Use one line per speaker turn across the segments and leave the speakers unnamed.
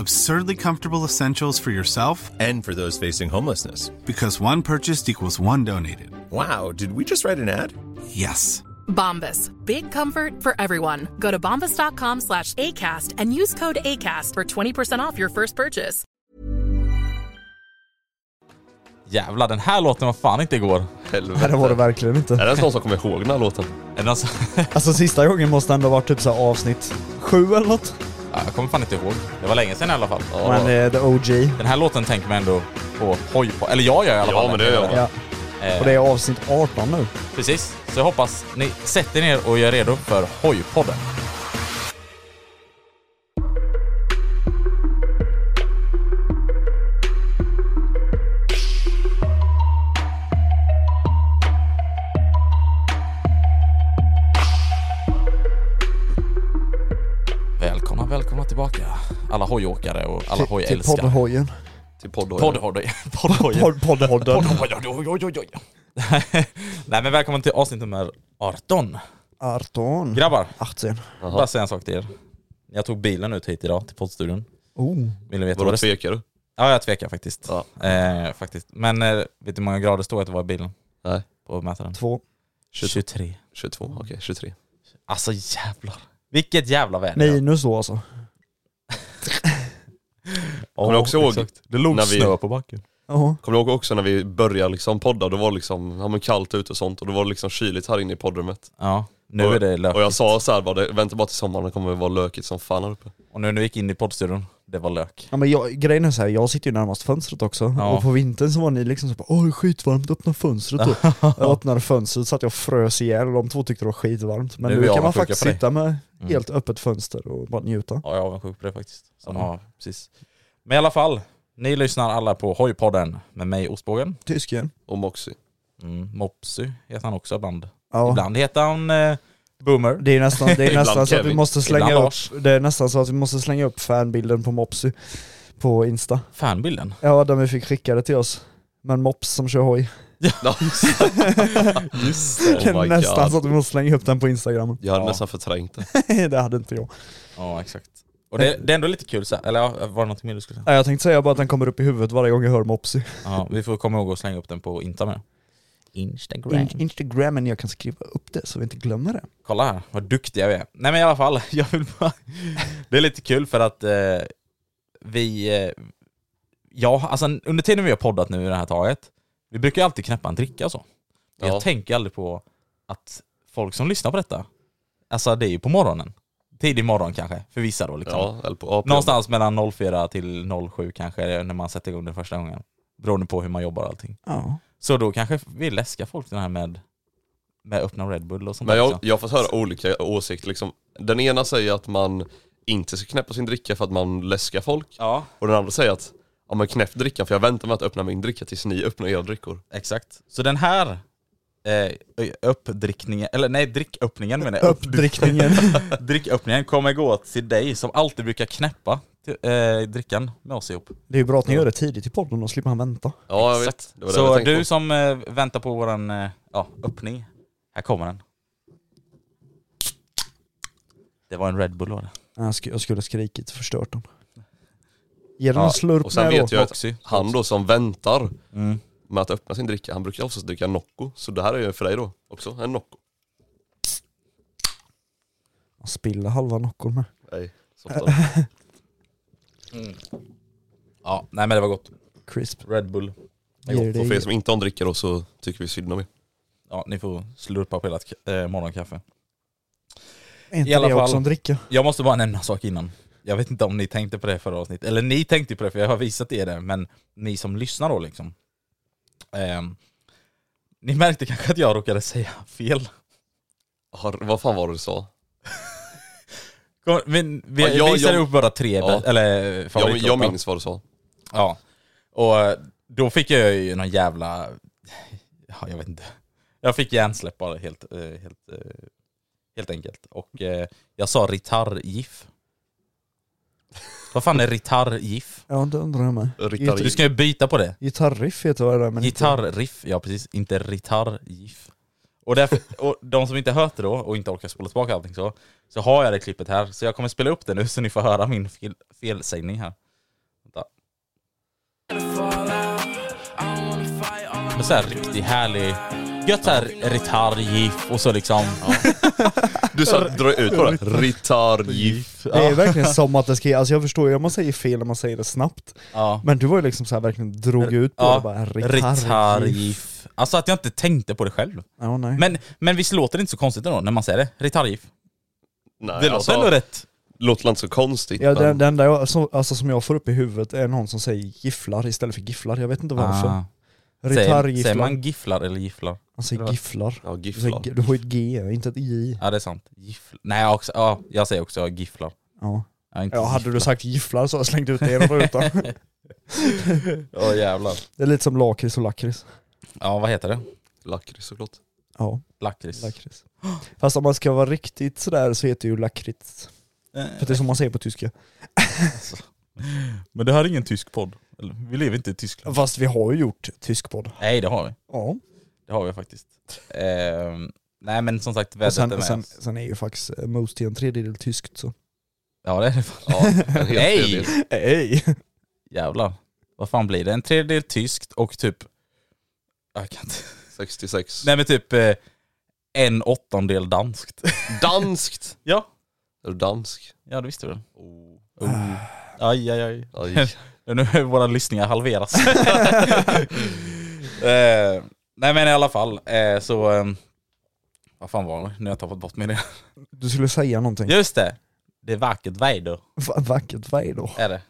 Absurdly comfortable essentials for yourself
And for those facing homelessness.
because one purchased equals one donated.
Wow, did we just write an ad?
Yes.
Bombas. Big comfort for everyone. Go to bombas.com slash ACAST and use code ACAST for 20% off your first purchase.
Jävlar, den här låten var fan inte igår.
Helvete.
Nej det var det verkligen
Är
inte.
det ens någon som kommer ihåg den här låten?
Är det någon som...
Alltså sista gången måste ändå ha varit typ så här avsnitt sju eller något.
Ja, jag kommer fan inte ihåg. Det var länge sedan i alla fall.
Men det är the OG.
Den här låten tänker man ändå på hoj på. Eller jag gör i alla
Ja,
fall.
men det gör man.
Ja.
Eh.
Och det är avsnitt 18 nu.
Precis. Så jag hoppas ni sätter ner och gör redo för Hojpodden. Välkomna, välkomna tillbaka alla hojåkare och alla
Till- Till
hojälskare.
poddhojen.
Till podd
Poddhoj. Poddhoj.
Podd- Poddhodden.
Oj, oj, oj, oj, oj, oj. Nej men välkommen till avsnitt nummer 18.
18.
Grabbar,
18.
bara säga en sak till er. Jag tog bilen ut hit idag till poddstudion.
Oh.
Vill ni veta
Vadå
vad det
tvekar du?
Ja jag tvekar faktiskt.
Ja.
Eh, faktiskt. Men eh, vet du hur många grader det står att det var i bilen?
Nej.
På mätaren?
Två.
23.
22, okej 23.
Alltså jävlar. Vilket jävla väder.
Minus då alltså.
Ja,
Kommer du också ihåg
exakt. Det låg
när vi-
snö på backen.
Ja.
Kommer du ihåg också när vi började liksom podda, då var det liksom, ja men kallt ute och sånt och då var det liksom kyligt här inne i poddrummet.
Ja, nu
och,
är det lökigt.
Och jag sa såhär bara, det- vänta bara till sommaren, det kommer vara lökigt som fan här uppe.
Och nu när vi gick in i poddstudion, det var lök.
Ja men jag, grejen är så här, jag sitter ju närmast fönstret också,
Ja.
och på vintern så var ni liksom så bara åh det är skitvarmt, öppna fönstret då. jag öppnade fönstret så att jag frös ihjäl och de två tyckte det var skitvarmt. Men
Nu är
nu,
vi
kan man
avundsjuka
faktiskt
på dig.
sitta med
Mm.
helt öppet fönster och bara njuta.
Ja, jag är avundsjuk på det faktiskt. Som har, precis. Men i alla fall, ni lyssnar alla på Hojpodden med mig Ostbågen.
Tysken.
Och Moxie.
Mm, Mopsy heter han också ibland.
Ja.
Ibland heter han eh, Boomer.
Det är nästan, det är
Ibland
nästan så att vi
Kevin,
måste slänga
ibland
upp,
Lars.
det är nästan så att vi måste slänga upp fanbilden på Mopsy på Insta.
Fanbilden.
Ja, den vi fick skickade till oss. Men Mops som kör hoj.
Just det.
det
Oh
är
my
nästan
God.
så att vi måste slänga upp den på Instagram.
Jag hade
Ja.
nästan förträngt det.
det hade inte jag.
Ja, exakt. Och det, det är ändå lite kul så här. eller ja, var det något mer du skulle säga?
Nej, Jag tänkte säga bara att den kommer upp i huvudet varje gång jag hör Mopsy.
Ja, vi får komma ihåg att slänga upp den på Insta med. Instagram.
In- Instagramen, jag kan skriva upp det så vi inte glömmer det.
Kolla här, vad duktiga vi är. Nej men i alla fall, jag vill bara... Det är lite kul för att eh, vi... Eh, ja, alltså under tiden vi har poddat nu i det här taget, vi brukar ju alltid knäppa en dricka och så. Men
Ja.
jag tänker aldrig på att folk som lyssnar på detta, alltså det är ju på morgonen. Tidig morgon kanske, för vissa då liksom.
Ja, eller på, ja, på
Någonstans mellan 04 till 07 kanske, när man sätter igång den första gången. Beroende på hur man jobbar och allting.
Ja.
Så då kanske vi läskar folk den här med, med öppna Red Bull och sånt
Men
där
jag,
liksom.
jag har fått höra olika åsikter liksom. Den ena säger att man inte ska knäppa sin dricka för att man läskar folk.
Ja,
Och den andra säger att, ja men knäpp drickan för jag väntar med att öppna min dricka tills ni öppnar era drickor.
Exakt. Så den här eh, uppdrickningen, eller nej dricköppningen menar jag.
Uppdrickningen.
dricköppningen kommer gå till dig som alltid brukar knäppa till, eh, drickan med oss ihop.
Det är ju bra att ni gör det tidigt i podden, då slipper han vänta.
Ja jag
Exakt.
vet, det var det
Så
jag tänkte
du
på.
som eh, väntar på våran eh, ja, öppning, här kommer den. Det var en Red Bull var det.
Jag, sk- jag skulle ha skrikit och förstört den. Ge den en
Ja,
slurp
Och sen
med
vet
då.
jag att
Roxy.
han då som väntar
Mm.
med att öppna sin dricka, han brukar oftast dricka Nocco. Så det här är ju för dig då också, en Nocco.
Han spiller halva Noccon med.
Nej, softar.
Ja, nej men det var gott.
Crisp.
Red Bull. Det är
Ger
Och för er
dig.
som inte har en dricka då så tycker vi synd om er.
Ja, ni får slurpa på hela k- eh, morgonkaffe.
Är inte
i alla
det
fall.
också en dricka?
Jag måste bara nämna en sak innan. Jag vet inte om ni tänkte på det förra avsnittet, eller ni tänkte på det för jag har visat er det, men ni som lyssnar då liksom. Ehm, ni märkte kanske att jag råkade säga fel.
Har, vad fan var det du sa?
Kom, Men vi
Ja, jag-
visade
jag-
upp våra tre
Ja.
bä- eller eh,
Jag,
favoritlåtar.
jag minns vad du sa.
Ja. Och eh, då fick jag ju någon jävla... Ja, jag vet inte. Jag fick hjärnsläpp bara helt, eh, helt, eh, helt enkelt. Och eh, jag sa ritarr-gif. Vad fan är ritarr-gif?
Ja det undrar jag med.
Rittar
Du ska ju byta på det.
Gitarriff heter vad det där men inte-
Gitarriff, ja precis. Inte ritarr-gif. Och, därför, och de som inte hört det då och inte orkar spola tillbaka allting så, så har jag det klippet här. Så jag kommer spela upp det nu så ni får höra min fel, felsägning här. Vänta. Men så här riktigt härlig, gött så här ritarr-gif och så liksom...
Du sa, dra ut på det. Ritargif.
Det är verkligen som att det ska, alltså jag förstår ju om man säger fel när man säger det snabbt
Ja.
Men du var ju liksom såhär verkligen drog ut på det bara Ritargif
ritarr-gif. Alltså att jag inte tänkte på det själv.
Ja nej
Men, men visst låter det inte så konstigt ändå när man säger det? Ritarr-gif.
Nej, alltså,
Det låter ändå rätt.
låter inte så konstigt.
Ja,
men
den, den där jag, som, alltså, som jag får upp i huvudet är någon som säger gifflar istället för gifflar, jag vet inte varför.
Ah. Säger, säger
Ritargifflar.
man gifflar eller gifflar?
Han säger gifflar.
ja,
Du säger
gifflar.
g- Du har ju ett G, inte ett I.
Ja det är sant. Gifflar. Nej jag också, ja, jag säger också gifflar.
Ja.
Ja, inte
Ja, hade du sagt gifflar så hade jag slängt ut det genom rutan.
Ja jävlar.
det är lite som lakrits och lakrits.
Ja vad heter det?
Lakrits såklart.
Ja,
Lakrits.
lakrits. Fast om man ska vara riktigt sådär så heter det ju lakrits. För det är som man säger på tyska.
Men det här är ingen tysk podd. Eller, vi lever inte i Tyskland.
Fast vi har ju gjort tysk podd.
Nej det har vi.
Ja.
Det har vi faktiskt. Ehm, nej men som sagt
Och
vädret är
sen,
med
sen,
oss.
sen är ju faktiskt eh, Most till en tredjedel tyskt så.
Ja det är det fan.
Ja, en hel
Nej!
tredjedel.
Hej!
Jävlar. Vad fan blir det? En tredjedel tyskt och typ... Jag kan inte.
66.
Nej men typ eh, en åttondel danskt.
Danskt!
ja.
Är du dansk?
Ja det visste du väl? Oh. Aj aj aj.
Aj.
Nu har våra lyssningar halveras. eh, nej men i alla fall, eh, så... Eh, vad fan var det? Nu har jag tappat bort mig det.
Du skulle säga någonting.
Just det! Det är vackert väder,
Va- Vackert, vad är då?
är det.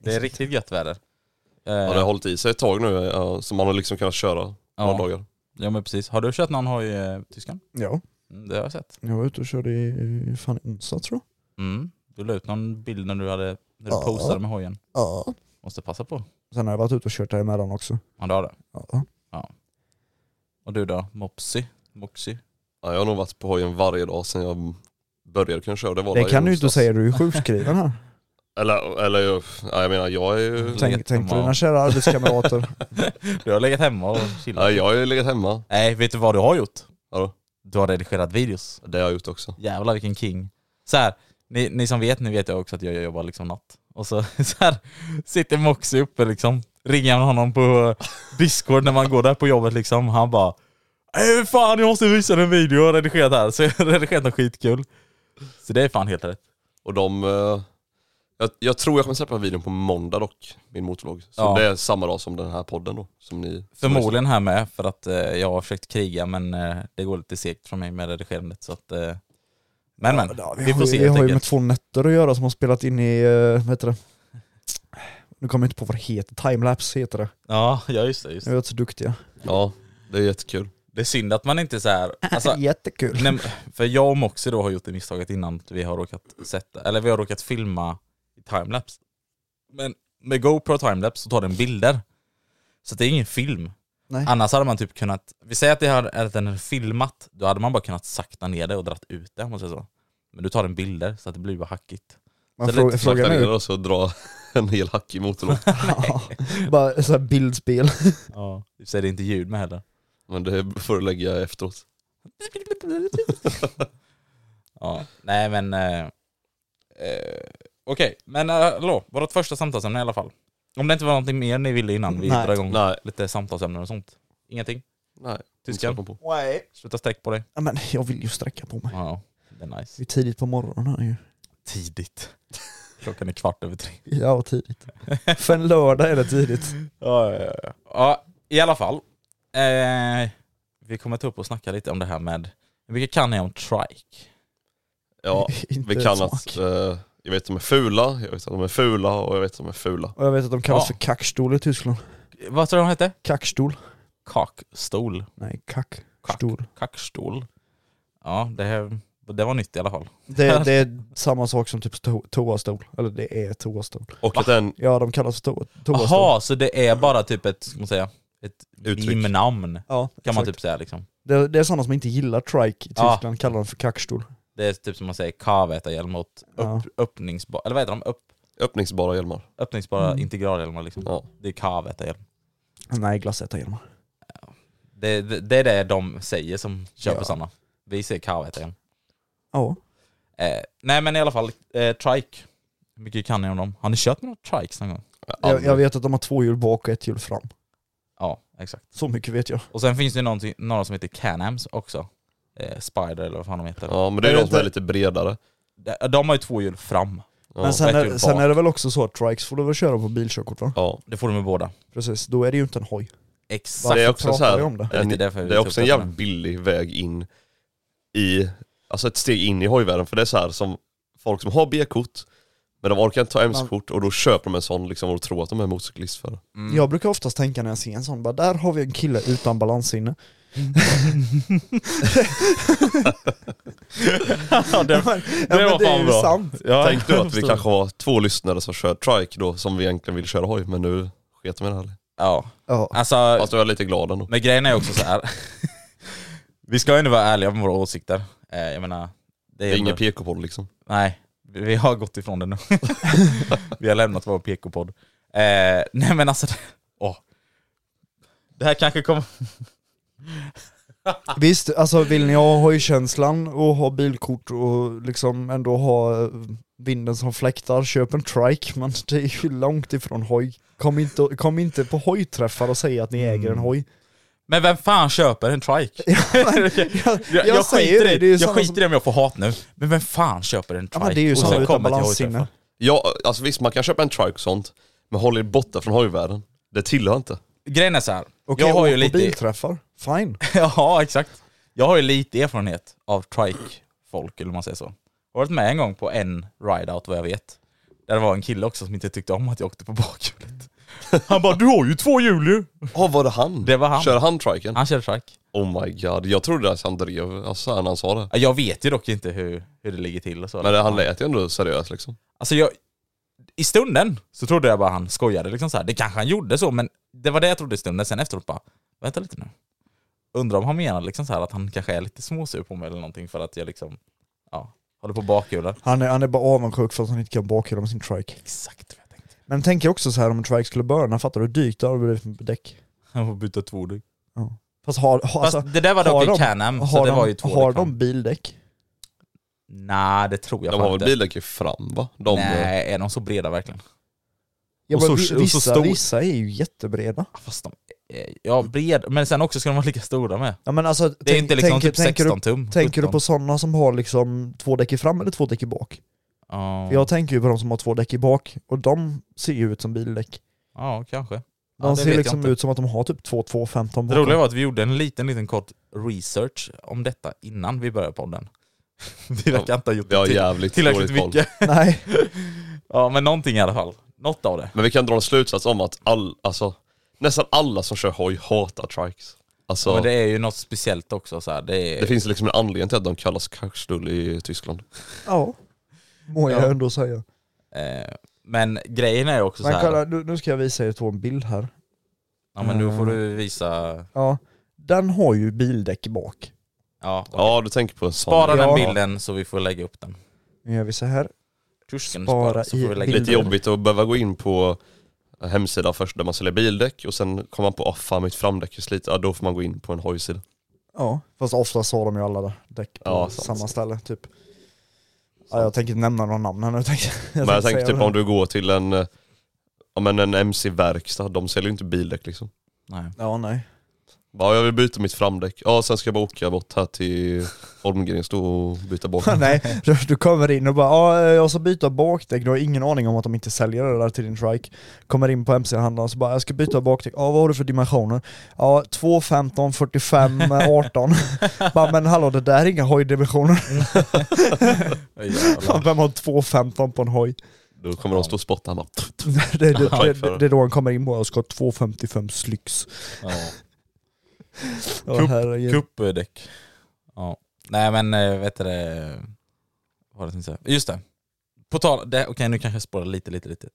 Det är riktigt gött väder. Eh,
Ja, det har hållit i sig ett tag nu, ja, så man har liksom kunnat köra några
Ja.
dagar.
ja men precis. Har du kört någon hoj i eh, Tyskland?
Ja.
Mm, det har jag sett.
Jag var ute och körde i eh, fan i onsdag tror jag.
Mm. Du la ut någon bild när du, hade, när du
Ja.
posade med hojen.
Ja.
Måste passa på.
Sen har jag varit ute och kört däremellan också.
Ja det har du.
Ja.
Och du då? Mopsy? Moxy?
Ja, jag har nog varit på hojen varje dag sedan jag började kunna köra. Det, var
Det
där i
kan du ju inte
onsdags.
säga, du är ju sjukskriven här.
Eller, eller jag- ja, jag menar jag är ju...
Tänk,
Jättemånga.
tänk på dina kära arbetskamrater.
Du har legat hemma och
Ja,
chillat.
jag har ju legat hemma.
Nej, vet du vad du har gjort?
Vadå?
Du har redigerat videos.
Det har jag gjort också.
Jävlar vilken king. Så här, ni, ni som vet, ni vet jag också att jag jobbar liksom natt. Och så, så här, sitter Moxie uppe liksom, ringer honom på discord när man går där på jobbet liksom. Han bara "Eh, Fan jag måste visa dig en video jag har redigerat här. Så jag har redigerat något skitkul. Så det är fan helt rätt.
Och de... eh, Jag, jag tror jag kommer släppa videon på måndag dock, min motorvlogg. Så
Ja.
det är samma dag som den här podden då, som ni... som
Förmodligen här med för att eh, jag har försökt kriga men eh, det går lite segt för mig med redigerandet så att... Eh, men men,
Ja,
vi,
vi, har
får
ju-
se
Vi
helt
har ju med
enkelt.
två nätter att göra som har spelat in i, eh, vad heter det? Nu kommer jag inte på vad det heter, timelapse heter det.
Ja, ja just det. Just
Nu
det.
är jag så duktiga.
lyssnar. Ja, det är jättekul.
det är synd att man inte så här, alltså,
Jättekul.
Nej, men- för jag och Moxie då har gjort det misstaget innan att vi har råkat sätta, eller vi har råkat filma i timelapse. Men med GoPro och timelapse så tar den bilder. Så det är ingen film.
Nej.
Annars hade man typ kunnat, vi säger att, det här, att den är filmat, då hade man bara kunnat sakta ner det och dratt ut det om man säger så. Men du tar den bilder så att det blir bara hackigt.
Man
så
frå,
lite
frågar
Slakta ner
nu.
och så dra en hel hack i motorn.
Ja, bara såhär bildspel.
Ja. Så är det inte ljud med heller.
Men det får du lägga efteråt.
ja. Nej men... Eh, eh, Okej, men eh, hallå, vårt första samtalsämne i alla fall. Om det inte var någonting mer ni ville innan vi
Nej.
drar igång
Nej.
lite samtalsämnen och sånt. Ingenting?
Nej.
Tyskland.
inte på.
Nej.
Sluta sträck på dig.
Ja, men jag vill ju sträcka på mig.
Ja, det är nice.
Det är tidigt på morgonen här ju.
Tidigt. Klockan är kvart över tre.
Ja, tidigt. För en lördag är det tidigt.
Ja, ja, ja. ja i alla fall. Eh, vi kommer ta upp och snacka lite om det här med, vilka kan ni om trike?
Ja,
Inte
vi
ett
kan
smack.
alltså.
att, eh, jag vet att de är fula, jag vet att de är fula och jag vet att de är fula.
Och jag vet att de kallas
Ja.
för kackstol i Tyskland.
Vad tror du de hette?
Kackstol?
Kakstol.
Nej, kack.
Kack.
Stol.
Kackstol. Ja, det, här, det var nytt i alla fall.
Det, det är samma sak som typ to- toastol. Eller det är toastol.
Och att den,
Ja, de kallas för to- toastol.
Jaha, så det är bara typ ett, ska man säga, ett
Uttryck.
meme-namn kan
Ja,
man
exakt.
typ säga liksom.
det, det är sådana som inte gillar trike i
Ja.
Tyskland, kallar dem för kackstol.
Det är typ som man säger kavätarhjälm mot upp,
Ja.
öppningsbara, eller vad heter de? Upp,
öppningsbara hjälmar.
öppningsbara integralhjälmar liksom.
Ja.
Det är kavätarhjälm.
Nej, glassätarhjälmar.
Det, det, det är det de säger som köper
Ja.
sådana. Vi säger kavätarhjälm.
Ja.
Eh, nej men i alla fall, eh, trike. Hur mycket kan ni om dem? Har ni kört med några trikes någon gång?
Jag, jag vet att de har två hjul bak och ett hjul fram.
Ja, exakt.
Så mycket vet jag.
Och sen finns det någonting- några som heter Canams också. Eh, Spider eller vad fan de heter.
Ja men det är,
Är det
de som är
inte-
lite bredare.
De, de har ju två hjul fram.
Ja.
Men sen
ett
är,
hjul
sen
bak.
är det väl också så att trikes får du väl köra på bilkörkort va?
ja.
Det får de med båda.
Precis, då är det ju inte en hoj.
Exakt.
Det är
Varför
också så
pratar
här,
vi om det?
Det är
en,
lite därför vi typ
det är
tar
också
upp
en
det här.
jävligt billig väg in i, alltså ett steg in i hojvärlden för det är så här som folk som har B-kort men de orkar inte ta MC-kort och då köper de en sån liksom och tror att de är motorcyklistförare.
Jag brukar oftast tänka när jag ser en sån, bara där har vi en kille utan balanssinne.
Mm.
Ja, det,
Men- ja, men det är ju sant.
Ja,
Tänk då
jag
att vi
förstår.
kanske har två lyssnare som kör trike då som vi egentligen vill köra hoj men nu sket de i det här.
Ja,
Ja.
alltså
Fast jag är lite glad ändå.
men grejen är också så här. vi ska ju ändå vara ärliga med våra åsikter. Eh, jag menar, det
Det
är,
är ingen PK-podd liksom.
Nej, vi vi har gått ifrån det nu. vi har lämnat vår PK-podd. Eh, nej men alltså, det- åh. Det här kanske kommer...
Visst, alltså vill ni ha hojkänslan och ha bilkort och liksom ändå ha eh, vinden som fläktar, köp en trike. Men det är ju långt ifrån hoj. Kom inte, kom inte på hojträffar och säg att ni äger
Mm.
en hoj.
Men vem fan köper en trike?
Jag,
Jag,
jag
jag
säger
skiter,
det,
i,
det är ju
jag
sådana
skiter
som-
i om jag får hat nu. Men vem fan köper en trike?
Ja, men det är ju
Och
sådana
sen
utan
kommer till
balanssinne.
hojträffar.
Ja, alltså visst man kan köpa en trike och sånt, men håll er borta från hojvärlden. Det tillhör inte.
Grejen är så här.
Okej,
jag har ju
åk
lite...
på bilträffar, fine.
ja, exakt. Jag har ju lite erfarenhet av trike-folk, eller om man säger så. Jag har varit med en gång på en ride-out, vad jag vet. Där det var en kille också som inte tyckte om att jag åkte på bakhjulet. Han bara 'Du har ju två hjul ju!'
Ja var det han?
Det var han.
Kör han triken?
Han körde trike.
Oh my god, jag trodde att han drev, alltså när han sa det.
Ja, Jag vet ju dock inte hur, hur det ligger till och så.
Men det, han lät ju ändå seriös liksom.
Alltså jag, i stunden så trodde jag bara han skojade liksom så här. Det kanske han gjorde så, men det var det jag trodde i stunden. Sen efteråt bara, vänta lite nu. Undrar om han menar liksom så här att han kanske är lite småsur på mig eller någonting för att jag liksom, ja, håller på bakhjulen.
Han är, han är bara avundsjuk för att han inte kan bakhjula med sin trike.
Exakt vad jag tänkte.
Men tänk er också så här om en trike skulle börna, fattar du hur dyrt det hade blivit med däck?
Han får byta två däck.
Fast, har, har,
Fast
alltså,
det där var
har
dock i
de-
Can-Am, så
har
det
de,
var ju två liksom.
har
däck fram.
de bildäck?
Nej, det tror jag
De
fan
har väl
inte.
bildäck i fram va? De, eh,
Nej, är de så breda verkligen?
Ja,
Och så-
men vi-
och så
vissa,
stor-
vissa är ju jättebreda.
Ja, Fast de, eh, ja bred, men sen också ska de vara lika stora med.
Ja, men alltså,
Det är inte liksom typ 16
du,
tum.
Tänker du
17.
på sådana som har liksom två däck i fram eller två däck i bak?
Ja,
Jag tänker ju på de som har två däck i bak, och de ser ju ut som bildäck.
ja kanske.
De
Ja, det vet
ser
jag
liksom
inte.
ut som att de har typ 2 2 15
Det roliga var att vi gjorde en liten, liten kort research om detta innan vi började podden. Vi verkar inte ha gjort
Vi har
det till,
jävligt
tillräckligt
dåligt koll.
mycket.
Nej,
Ja, men någonting i alla fall. Något av det.
Men vi kan dra en slutsats om att all, alltså, nästan alla som kör hoj hatar trikes. Alltså,
Men det
det,
är ju något speciellt också. Så här. Det är...
finns liksom en anledning till att de kallas kackstull i Tyskland.
ja. Må jag
Ja.
ändå säga.
eh, men grejen är också så
Men
här.
kolla, nu, nu ska jag visa er två en bild här.
Ja, men nu får
Mm.
du visa...
Ja, den har ju bildäck bak.
Ja,
Ja du tänker på en sån.
Spara den
Ja.
bilden så vi får lägga upp den.
Nu gör vi så här.
Tusken
Spara
spara, så
i
får vi lägga
Lite
upp den.
jobbigt att behöva gå in på hemsidan först där man säljer bildäck och sen kommer man på att fan mitt framdäck är slitet, ja, då får man gå in på en hojsida.
Ja, fast oftast har de ju alla däck på
Ja, sant.
samma ställe typ. Ja, jag tänker inte nämna några namn här nu. Jag tänkte, jag
Men jag
tänkte
tänker typ
säga
om
det.
du går till en, eh, ja, men en MC-verkstad, de säljer ju inte bildäck liksom.
Nej.
Ja, nej.
Bara, jag vill byta mitt framdäck. Ja, sen ska jag bara åka bort här till Holmgren, stå och byta bak.
nej, du, du kommer in och bara ja, eh, jag ska byta bakdäck, du har ingen aning om att de inte säljer det där till din trike. Kommer in på MC-handlaren och så bara jag ska byta bakdäck, ja vad har du för dimensioner? Ja 2, 15, 45, eh, 18. bara men hallå det där är inga hojdimensioner.
Jävlar.
Vem har 2, 15 på en hoj?
Då kommer de stå och spotta, han bara,
det, det, det,
för-
det, är då han kommer in på, jag ska ha 2,55 slicks.
Ja.
Ja,
Kupp,
herregud.
Kuppdäck. Ja. Nej men eh, vet du det... Vad var det jag tänkte säga? Just det. På tal... det- Okej nu kanske jag spårar lite, lite, lite.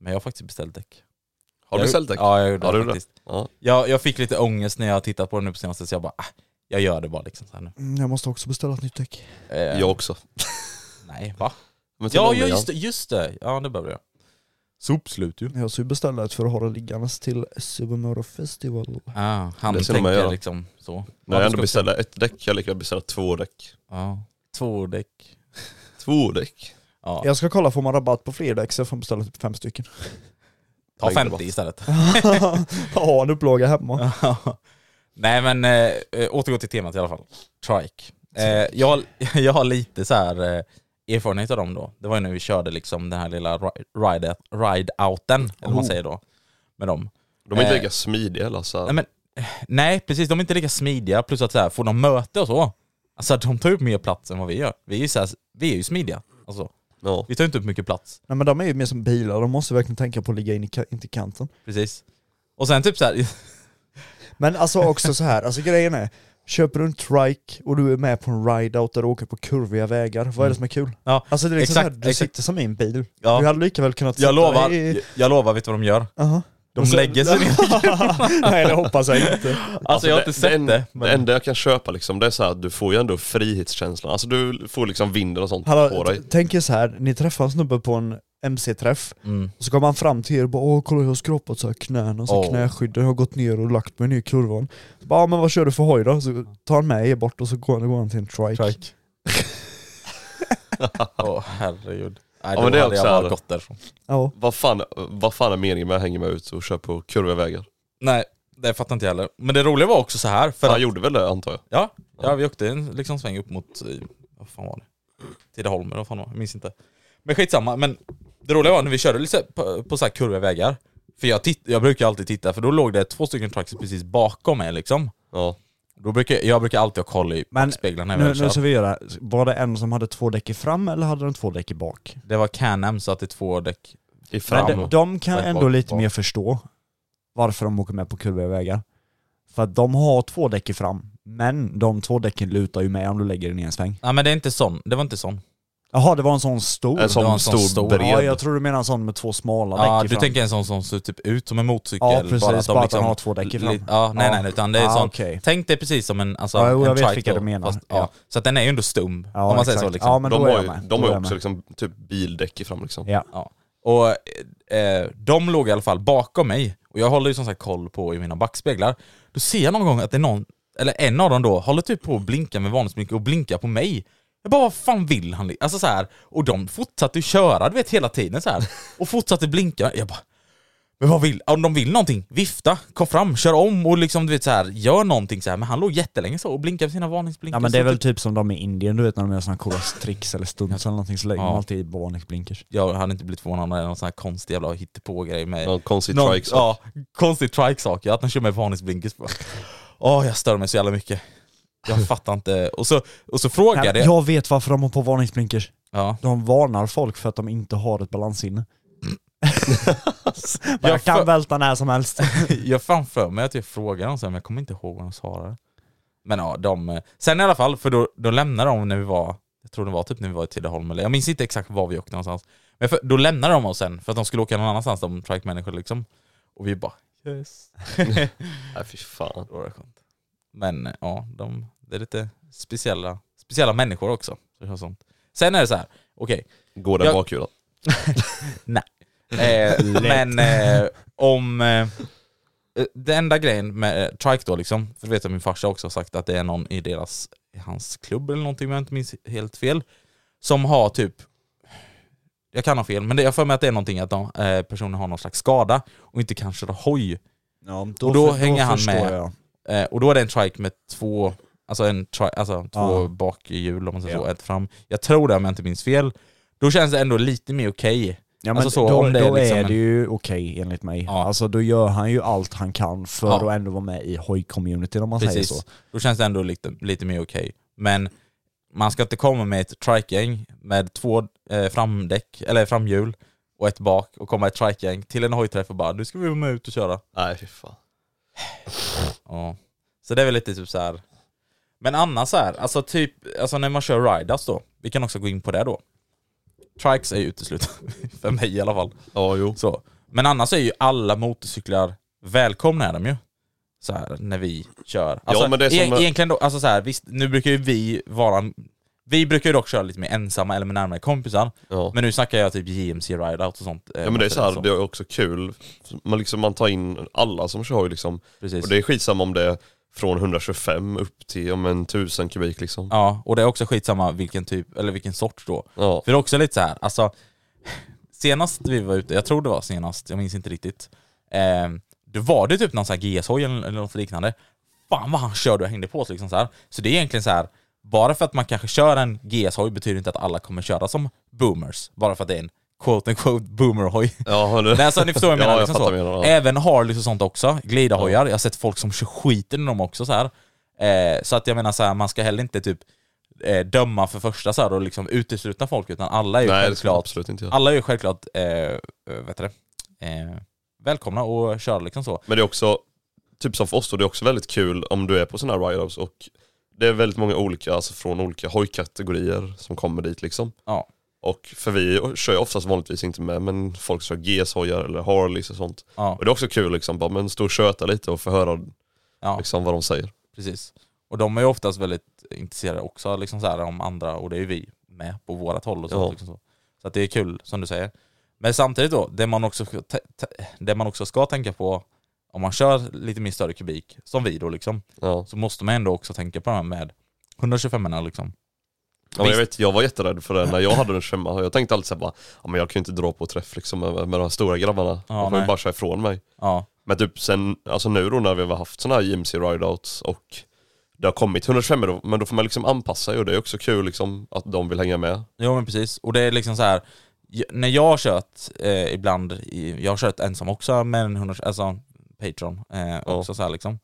Men jag har faktiskt beställt däck.
har du
Jag-
säljdäck?
Ja jag gjorde
Ja, du
det
gjorde
faktiskt.
Ja.
Jag, jag fick lite ångest när jag har tittat på det nu på senaste så jag bara ah, jag gör det bara liksom så här nu.
Mm, Jag måste också beställa ett nytt däck.
Eh,
Jag också.
Nej va?
Men till
Ja
Holmgren.
ja, just det, just det. Ja det behöver jag. Sopslut ju.
Jag ska ju beställa ett för att ha det liggandes till Supermoto Festival.
Ah, han
Det ska de
tänker
göra.
liksom så.
När jag
Ja,
ändå
du ska-
beställer ett däck, jag lika gärna beställa två däck.
Ja. Två däck.
Två däck?
Ja.
Jag ska kolla, får man rabatt på fler däck så jag får beställa typ fem stycken.
Ta 50 istället.
ha en upplaga hemma.
Nej men eh, eh, återgå till temat i alla fall. Trike. Eh, jag, har- jag har lite så här eh, erfarenhet av dem då. Det var ju när vi körde liksom den här lilla ri- ride- ride-outen, eller
Oh.
vad man säger då, med dem.
De är inte
Eh.
lika smidiga eller så här.
Nej, men, eh, nej precis, de är inte lika smidiga, plus att så här, får de möte och så, alltså de tar upp mer plats än vad vi gör. Vi är ju, så här, vi är ju smidiga, alltså.
Ja.
Vi tar ju inte upp mycket plats.
Nej men de är ju mer som bilar, de måste verkligen tänka på att ligga in i, ka- in till kanten.
Precis. Och sen typ så här,
Men alltså också så här, alltså grejen är, köper du en trike och du är med på en ride-out där du åker på kurviga vägar, vad är det som är kul?
ja,
Alltså det är liksom
Mm. Exakt,
så här, du
exakt.
sitter som i en bil.
Ja.
Du hade lika väl kunnat
jag
sitta
lovar,
i...
jag lovar, vet du vad de gör?
Jaha.
De
Och sen-
lägger sig ner. Alltså,
Nej det hoppas jag inte.
jag har inte sett
en-
det. men-
Det enda jag kan köpa liksom, det är så här, att du får ju ändå frihetskänslan. Alltså du får liksom vinden och sånt på
Hallå,
dig.
t- tänk er så här, ni träffar en snubbe på en MC-träff,
Mm.
och så kommer han fram till er och bara åh kolla jag har skrapat så här knäna, så här
Åh.
knäskydden, jag har gått ner och lagt mig ner i kurvan. Så bara, "Ja, men vad kör du för hoj då? Så tar han med er bort och så går han, går han till en trike.
Trike. Åh herregud. Nej,
Ja,
då
men det är
hade jag
också
bara
här.
gått därifrån.
Ja.
Vad fan, vad fan är meningen med att hänga mig ut och köra på kurviga vägar?
Nej, det fattar inte jag heller. Men det roliga var också så här, för
Han
att,
gjorde väl det antar jag?
ja, ja, vi åkte en liksom, sväng upp mot, eh, vad fan var det? Tidaholm eller vad fan var det? Jag minns inte. Men skitsamma, men det roliga var när vi körde lite på, på så här kurviga vägar, för jag, titt, jag brukar alltid titta, för då låg det två stycken trucks precis bakom mig liksom.
Ja.
Då brukar, jag brukar alltid ha koll i
Men
backspeglarna när jag
Nu,
väl
nu
kör.
ska vi göra, var det en som hade två däck i fram eller hade den två däck i bak?
Det var Can-Am så att det är två däck.
I
Men
fram.
de, de kan
Bak,
ändå
bak,
lite
bak.
mer förstå varför de åker med på kurviga vägar. För att de har två däck i fram, men de två däcken lutar ju med om du lägger den i en sväng.
Nej men det är inte sån, det var inte sån.
Jaha, det var Oh, en sån stor?
en
det var
sån
en sån
stor,
stor-
bred.
Ja, jag tror du menar en sån med två smala
Ja,
däck i
du
fram.
tänker en sån som ser typ ut som en motorcykel?
Ja, precis,
bara att de
bara att
liksom,
den har två däck i fram.
li- Ja, nej
Ja.
nej, nej, utan det är
Ah,
sån,
okej.
tänk dig precis som en, alltså,
Ja, jo, jag
en
vet
trike
vilka
då,
du menar.
ja.
Ja.
Så att den är ju ändå stum,
Ja,
om man säger så
exakt.
liksom.
Ja, men
de
då är
har
jag
ju,
med.
de
Då
har
är
ju
jag
också
med.
liksom typ bildäck i fram liksom.
Ja.
Ja. Och eh, de låg i alla fall bakom mig, och jag håller ju som sagt koll på i mina backspeglar. Då ser jag någon gång att det är någon, eller en av dem då, håller typ på att blinka med varningsblinkare och blinkar på mig. Jag bara, vad fan vill han? li-?" Alltså så här, och de fortsatte ju köra du vet hela tiden så här. Och fortsatte blinka. Jag bara, men vad vill, om de vill någonting, vifta, kom fram, kör om och liksom du vet så här, gör någonting så här. Men han låg jättelänge så och blinkade med sina varningsblinkare.
Ja men det är
Så
väl
typ-
typ som de i Indien du vet när de gör såna coola tricks eller stunts eller någonting så lägger de
Ja.
alltid i varningsblinkers.
Jag hade inte blivit förvånad om det är någon sån här konstig jävla hittepå-grej med
Någon konstig
Någon-
trike
Ja, konstig trike-sak. Ja, att han kör med varningsblinkers på. Åh, jag stör mig så jävla mycket. Jag fattar inte. Och så, och så
Nej,
frågade jag...
jag vet varför de har på varningsblinkers.
Ja.
De varnar folk för att de inte har ett balanssinne.
Jag
jag kan
för-
välta när som helst.
Jag framför mig att jag frågade dem sen, men jag kommer inte ihåg vad de svarade. Men ja, de... eh, Sen i alla fall, för då, då lämnade de när vi var... Jag tror det var typ när vi var i Tidaholm, eller jag minns inte exakt var vi åkte någonstans. Men för, då lämnade de oss sen, för att de skulle åka någon annanstans, de trike-människor liksom. Och vi bara... Yes.
Nej fy fan.
Då var det skönt. Men eh, ja, de, det är lite speciella, speciella människor också. Så det är sånt. Sen är det så här, okej.
Går den
Jag-
bakhjulen?
Eh, men eh, om... Eh, eh, det enda grejen med eh, Trike då liksom, för det vet jag min farsa också har sagt att det är någon i deras, i hans klubb eller någonting om jag inte minns helt fel, Som har typ, jag kan ha fel, men det, jag får med att det är någonting att de, eh, personen har någon slags skada och inte kan köra hoj.
Ja,
Och då hänger han
förstår
med.
Jag.
Eh, och då är det en trike med två, alltså en tri- alltså två
Ja.
bakhjul om man säger så,
Ja.
ett fram. Jag tror det om jag inte minns fel. Då känns det ändå lite mer okej.
Ja, men
Alltså så,
då,
om det är
då
liksom
är
en-
det ju okej enligt mig.
Ja.
Alltså då gör han ju allt han kan för
Ja.
att ändå vara med i hoj-communityn om man
Precis.
säger så.
Då känns det ändå lite, lite mer okej. Men man ska inte komma med ett trike-gäng med två eh, framdäck, eller framhjul och ett bak och komma ett trike-gäng till en hojträff och bara nu ska vi vara med ut och köra.
Nej fy fan.
Ja. Så det är väl lite typ så här. Men annars så här, alltså typ, alltså när man kör riders då, vi kan också gå in på det då. Trikes är ju uteslutet, för mig i alla fall.
Ja jo.
Så. Men annars är ju alla motorcyklar välkomna är de ju. Så här, när vi kör. Alltså,
men det är som-
e- egentligen då, alltså så här, visst, nu brukar ju vi vara... Vi brukar ju dock köra lite mer ensamma eller med närmare kompisar.
Ja.
Men nu snackar jag typ JMC rideout och sånt.
Ja men det är så här, det är också kul. Man, liksom, man tar in alla som kör ju liksom.
Precis.
Och det är skitsamma om det är från 125 upp till om en 1000 kubik liksom.
Ja, och det är också skitsamma vilken typ, eller vilken sort då.
Ja.
För det är också lite så här, alltså senast vi var ute, jag tror det var senast, jag minns inte riktigt. Eh, då var det typ någon sån här GS-hoj eller, eller något liknande. Fan vad han körde och hängde på sig liksom så här. Så det är egentligen så här, bara för att man kanske kör en GS-hoj betyder inte att alla kommer köra som boomers. Bara för att det är en quote unquote boomer-hoj.
Ja, det...
Nej, alltså, ni förstår vad jag menar.
Ja, jag
liksom
fattar
så.
vad du menar, ja.
Även Harleys och sånt också, glidarhojar. Jag har sett folk som kör skiten i dem också så här. Eh, så att jag menar så här, man ska heller inte typ eh, döma för första så här och liksom utesluta folk, utan alla är ju
Nej det ska man
självklart,
absolut inte göra.
alla är ju självklart eh, eh, vet du det, eh, välkomna och köra liksom så.
Men det är också, typ som för oss då, det är också väldigt kul om du är på sådana här ride-ups och det är väldigt många olika, alltså från olika hojkategorier som kommer dit liksom.
Ja.
Och för vi kör ju oftast vanligtvis inte med, men folk kör GS-hojar eller Harleys och sånt.
Ja.
Och det är också kul liksom, bara men stå och köta lite och få höra
Ja.
liksom vad de säger.
Precis. Och de är ju oftast väldigt intresserade också liksom så här, om andra, och det är ju vi med på vårat håll och så.
Ja.
Liksom så. så att det är kul, som du säger. Men samtidigt då, det man, också, ska ta- ta- det man också ska tänka på om man kör lite mer större kubik, som vi då liksom,
Ja.
så måste man ändå också tänka på det här med 125 erna liksom.
Ja, men jag,
Visst.
vet, jag var jätterädd för det när jag hade den hemma. Jag tänkte alltid såhär bara, ja, men jag kan ju inte dra på träff liksom med, med de här stora grabbarna.
Ja,
de får ju
nej.
bara köra ifrån mig.
Ja,
Men typ sen, alltså nu då när vi har haft sådana här JMC rideouts och det har kommit 125 då, men då får man liksom anpassa sig och det är också kul liksom att de vill hänga med.
jo men precis. Och det är liksom så här, j- när jag har kört eh, ibland, i, jag har kört ensam också med en 100, alltså Patreon eh, också så här liksom.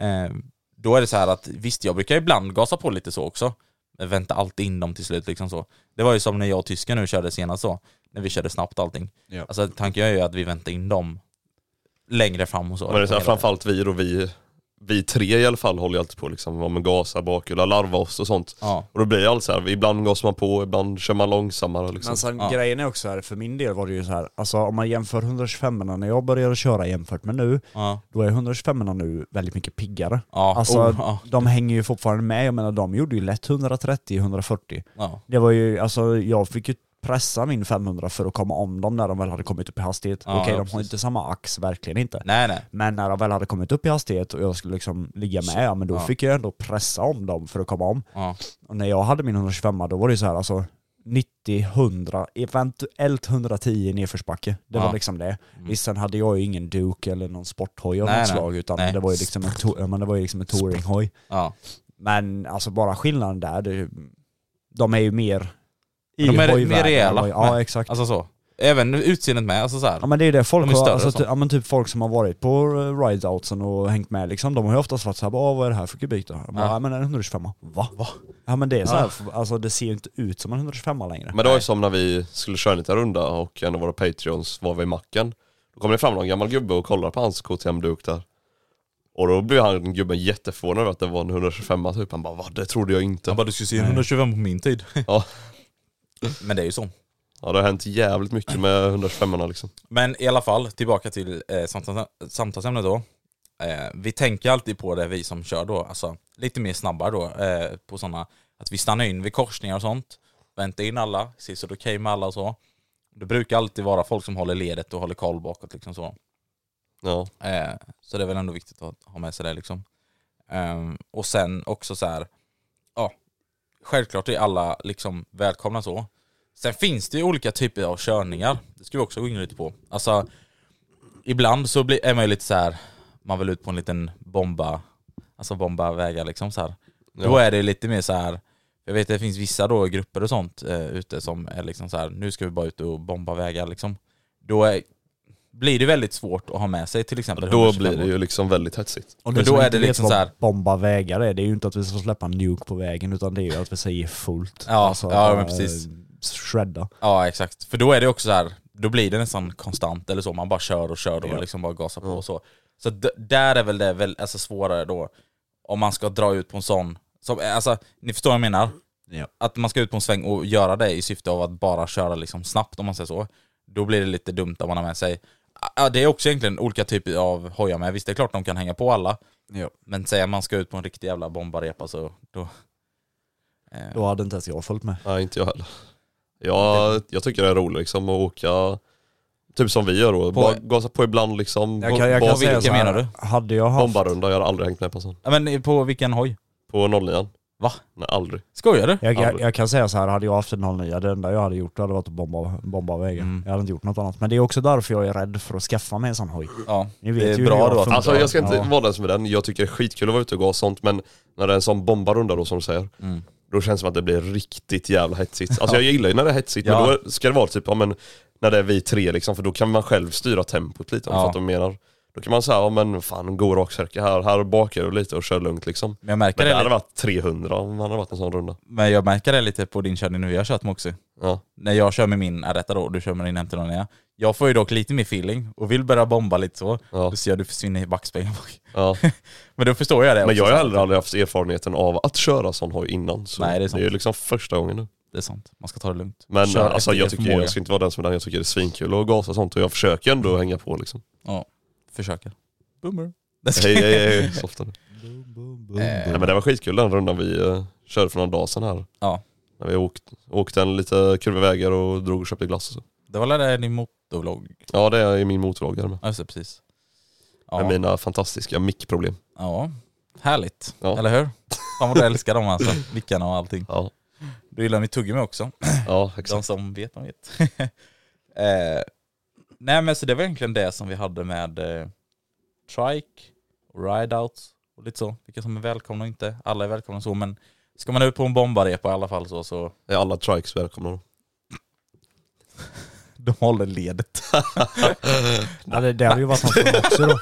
Eh, då är det så här att visst, jag brukar ibland gasa på lite så också. Men vänta alltid in dem till slut liksom så. Det var ju som när jag och tysken nu körde senast så. När vi körde snabbt allting.
Ja.
Alltså tanken är ju att vi väntar in dem längre fram och så.
Men det är så här, framförallt vi då, vi, vi tre i alla fall håller ju alltid på liksom, ja, men gasa, bakhjula, larva oss och sånt.
Ja.
Och då blir det alltid så här, ibland gasar man på, ibland kör man långsammare liksom.
Men sen
Ja.
grejen är också här, för min del var det ju så här, alltså om man jämför 125 när jag började köra jämfört med nu,
Ja.
då är 125 nu väldigt mycket piggare.
Ja.
Alltså
Oh, ja.
de hänger ju fortfarande med, jag menar de gjorde ju lätt 130-140.
Ja.
Det var ju, alltså jag fick ju pressa min 500 för att komma om dem när de väl hade kommit upp i hastighet.
Ja,
Okej
ja,
de har
precis.
inte samma ax, verkligen inte.
Nej nej.
Men när de väl hade kommit upp i hastighet och jag skulle liksom ligga med, ja, men då
Ja.
fick jag ändå pressa om dem för att komma om.
Ja.
Och när jag hade min 125 då var det ju så här alltså 90, 100, eventuellt 110 i nedförsbacke. Det
Ja. Mm.
var liksom det. Visst sen hade jag ju ingen Duke eller någon sporthoj av
Nej,
något
nej.
slag utan
Nej.
det var ju liksom en, to- ja, men det var ju liksom en touringhoj.
Ja.
Men alltså bara skillnaden där, det, de är ju mer i
De är
hojvärlden
mer
än
rejäla.
vad- Ja
Men-
exakt.
Alltså så. Även utseendet med, alltså så här.
Ja men det är ju det folk
De är
har,
större
alltså,
och så.
ty- ja, men typ folk som har varit på eh, rideoutsen och hängt med liksom, de har ju oftast varit såhär bara "Åh, vad är det här för kubik då? Jag Bara,
Ja.
ja. men en 125 Va? Va? Ja men det är så här, f- alltså det ser ju inte ut som en 125
Mm.
längre.
Men det var ju som när vi skulle köra en liten runda och en av våra patreons var vid macken. Då kom det fram någon gammal gubbe och kollade på hans KTM-duk där. Och då blev han gubben jätteförvånad över att det var en 125 typ. Han bara va? Det trodde jag inte.
Han bara du skulle se 125 på min tid.
Ja.
Men det är ju så.
Ja det har hänt jävligt mycket med 125 liksom.
Men i alla fall, tillbaka till eh, samtals- samtalsämnet då. Eh, vi tänker alltid på det, vi som kör då, alltså lite mer snabbare då, eh, på sådana, att vi stannar in vid korsningar och sånt, väntar in alla, ser så det är okej med alla och så. Det brukar alltid vara folk som håller ledet och håller koll bakåt liksom så.
Ja.
Eh, så det är väl ändå viktigt att ha med sig det liksom. Ehm, och sen också så här, ja, självklart är alla liksom välkomna så. Sen finns det ju olika typer av körningar. Det ska vi också gå in lite på. Alltså, ibland så blir, är man ju lite så här. man vill ut på en liten bomba, alltså bomba vägar liksom så här. Då är det lite mer så här. jag vet det finns vissa då grupper och sånt eh, ute som är liksom så här. nu ska vi bara ut och bomba vägar liksom. Då är, blir det väldigt svårt att ha med sig till exempel
Då
125
blir det ju liksom väldigt hetsigt.
Och
Men
ni
då
som
är
inte
det
vet
liksom
vad
så här-
Bomba vägar är, det är ju inte att vi ska släppa en nuke på vägen utan det är ju att vi säger fullt. Alltså,
Ja, ja,
bara,
men precis.
eh, Shredda.
Ja exakt, för då är det också så här, då blir det nästan konstant eller så, man bara kör och kör och liksom bara gasar på och så. Så d- där är väl det väl, alltså, svårare då, om man ska dra ut på en sån, som, alltså ni förstår vad jag menar?
Ja.
Att man ska ut på en sväng och göra det i syfte av att bara köra liksom snabbt om man säger så. Då blir det lite dumt om man har med sig, ja, det är också egentligen olika typer av hojar med, visst det är klart de kan hänga på alla,
Ja.
men säg att man ska ut på en riktig jävla bombarepa så då... Eh,
Då hade inte ens jag följt med.
Nej inte jag heller. Jag, jag tycker det är roligt liksom att åka, typ som vi gör då, bara gasa på ibland liksom.
Jag kan, jag kan
Bara-
säga
vilka
så här,
menar
Hade jag haft...
Bombarunda, jag har aldrig hängt med på en sån.
ja, men på vilken hoj?
På 09
Va?
Nej aldrig.
Skojar du?
Jag, jag,
Aldrig.
jag kan säga så här, hade jag haft en 09, det enda jag hade gjort hade varit att bomba, bomba vägen.
Mm.
Jag hade inte gjort något annat. Men det är också därför jag är rädd för att skaffa mig en sån hoj.
Ja,
Ni
Det
vet
är
ju
bra
hur jag
då att-
funkar.
Alltså jag ska inte
Ja.
vara den som är den, jag tycker det är skitkul att vara ute och gå och sånt men när det är en sån bombarunda då som du säger,
Mm.
då känns det som att det blir riktigt jävla hetsigt. Alltså jag gillar ju när det är hetsigt men
Ja.
då ska det vara typ, ja men när det är vi tre liksom för då kan man själv styra tempot lite om
Ja.
du fattar vad jag menar. Då kan man säga, ja men fan gå raksträcka här, här bakar du lite och kör lugnt liksom.
men jag märker
Men
det
det hade varit 300 om man hade varit en sån runda.
Men jag märker det lite på din körning nu vi har kört Moxie.
Ja.
När jag kör med min Aretta då och du kör med din MT-09. Jag får ju dock lite mer feeling och vill börja bomba lite så.
Ja.
Då ser jag att du försvinner i backspegeln bak.
Ja.
Men då förstår jag det
Men
också,
jag har
så här.
aldrig, aldrig haft erfarenheten av att köra sån hoj innan. Så
Nej, det är
det
sant.
är ju liksom första gången nu.
Det är sant. Man ska ta det lugnt.
Men
Kör
alltså
efter
jag
er
tycker
förmåga.
jag ska inte vara den som är den, jag tycker det är svinkul att gasa och sånt och jag försöker ändå hänga på liksom.
Ja, försöker. Boomer.
Hej hej hej, softa nu.
Eh,
Nej men det var skitkul den rundan vi eh, körde för några dagar sedan här.
Ja.
När vi åkt, åkte en lite kurviga vägar och drog och köpte glass och så.
Det var väl det din motorvlogg?
Ja det är min motorvlogg här med.
Ja, just det, precis.
Med
Ja,
mina fantastiska mickproblem.
ja. härligt.
Ja.
Eller hur? Fan vad du älskar dem alltså. Vickarna och allting.
Ja,
Du gillar mitt tuggummi också.
ja
De
exakt.
som vet, de vet. eh, nej men så det var egentligen det som vi hade med eh, trike, och rideouts och lite så. Vilka som är välkomna och inte. Alla är välkomna och så men ska man ut på en bombarepa i alla fall så, så
Är alla trikes välkomna då?
de håller ledet.
Ja, det, det hade ju varit något för Moxie då.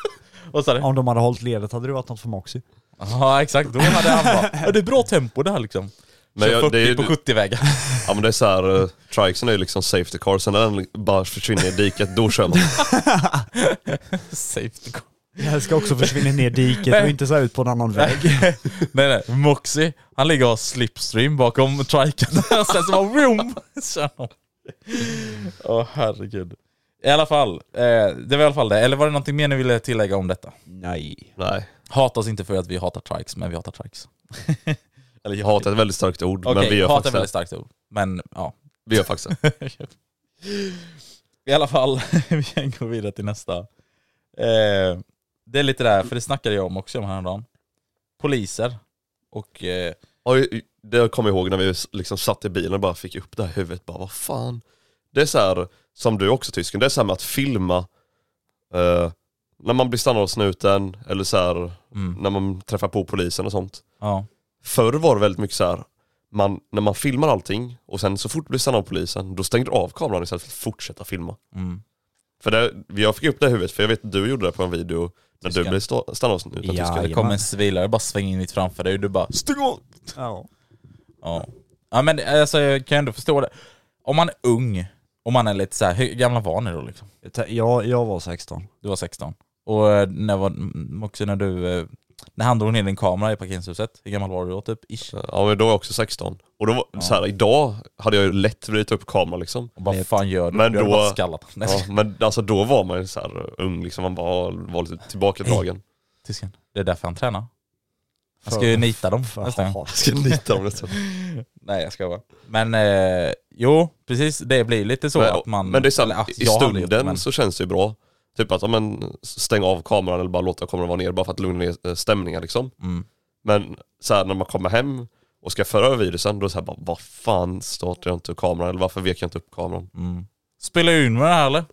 Vad sa du?
Om de hade hållit ledet hade det varit något för Moxie.
Ja exakt, då hade han bara, "Ja, det är bra tempo det här liksom.
Men
Kör
jag-
40
det är ju-
på 70 vägar.
Ja men det är såhär, eh, trikesen är ju liksom safety car, sen när den bara försvinner i diket, då kör man.
Safety car.
Jag ska också försvinna ner i diket
Nej.
och inte så här ut på en annan väg.
nej nej, Moxie, han ligger och har slipstream bakom triken. Sen så bara vroom! kör han. Åh herregud. I alla fall, eh, det var i alla fall det. Eller var det någonting mer ni ville tillägga om detta?
Nej.
Nej.
Hata oss inte för att vi hatar trikes, men vi hatar trikes.
Eller jag hatar är ett väldigt starkt ord,
Okej,
men vi gör
hata är
faktiskt det.
väldigt starkt ord. Men ja.
Vi gör faktiskt det.
I alla fall, vi kan gå vidare till nästa. Eh, det är lite där, för det snackade jag om också om häromdagen. Poliser och eh,
Ja, ju- det jag kommer ihåg när vi liksom satt i bilen och bara fick upp det här i huvudet, bara vad fan. Det är så här, som du också tysken, det är så här med att filma eh, när man blir stannad av snuten eller så här
mm,
när man träffar på polisen och sånt.
ja.
Förr var det väldigt mycket så här, man, när man filmar allting och sen så fort du blir stannad av polisen, då stänger du av kameran istället för att fortsätta filma.
Mm.
För det, jag fick upp det i huvudet, för jag vet att du gjorde det på en video när du
Tysken.
blev sta- stannad av snuten.
Ja,
tysken.
Det kommer en civilare bara svänger in mitt framför dig och du bara Stäng av!
Ja.
Ja. ja men alltså, jag kan ändå förstå det. Om man är ung och man är lite så här, hur gamla var ni då liksom?
Jag tä- Jag, jag var 16.
Du var 16. Och eh, när var, mm, också när du, eh, när han drog ner din kamera i parkeringshuset, hur gammal var du då typ? Ish.
Ja men då var jag också 16. Och då var, så här, idag hade jag ju lätt vridit upp kameran liksom.
Och bara, "Vad fan gör du?
Men
du hade
då-
bara skallat Nej,
Ja, men alltså då var man ju så här ung liksom, man bara var lite tillbakadragen.
tysken. Det är därför han tränar. Han ska ju nita dem
För
nästa gång.
hat.
Ska nita om det så.
Nej jag ska bara. Men eh, jo, precis. Det blir lite så
Men,
att man...
men det är så här,
eller, ja,
i
jag har aldrig gjort det,
stunden
men-
så känns det ju bra. Typ att, ja, men, stäng av kameran eller bara låta kameran vara ner bara för att lugna ner eh, stämningen liksom.
Mm.
Men så här, när man kommer hem och ska föra över virusen, då är det så här bara, vad fan startar jag inte upp kameran eller varför vek jag inte upp kameran?
Spelar du in med det här eller?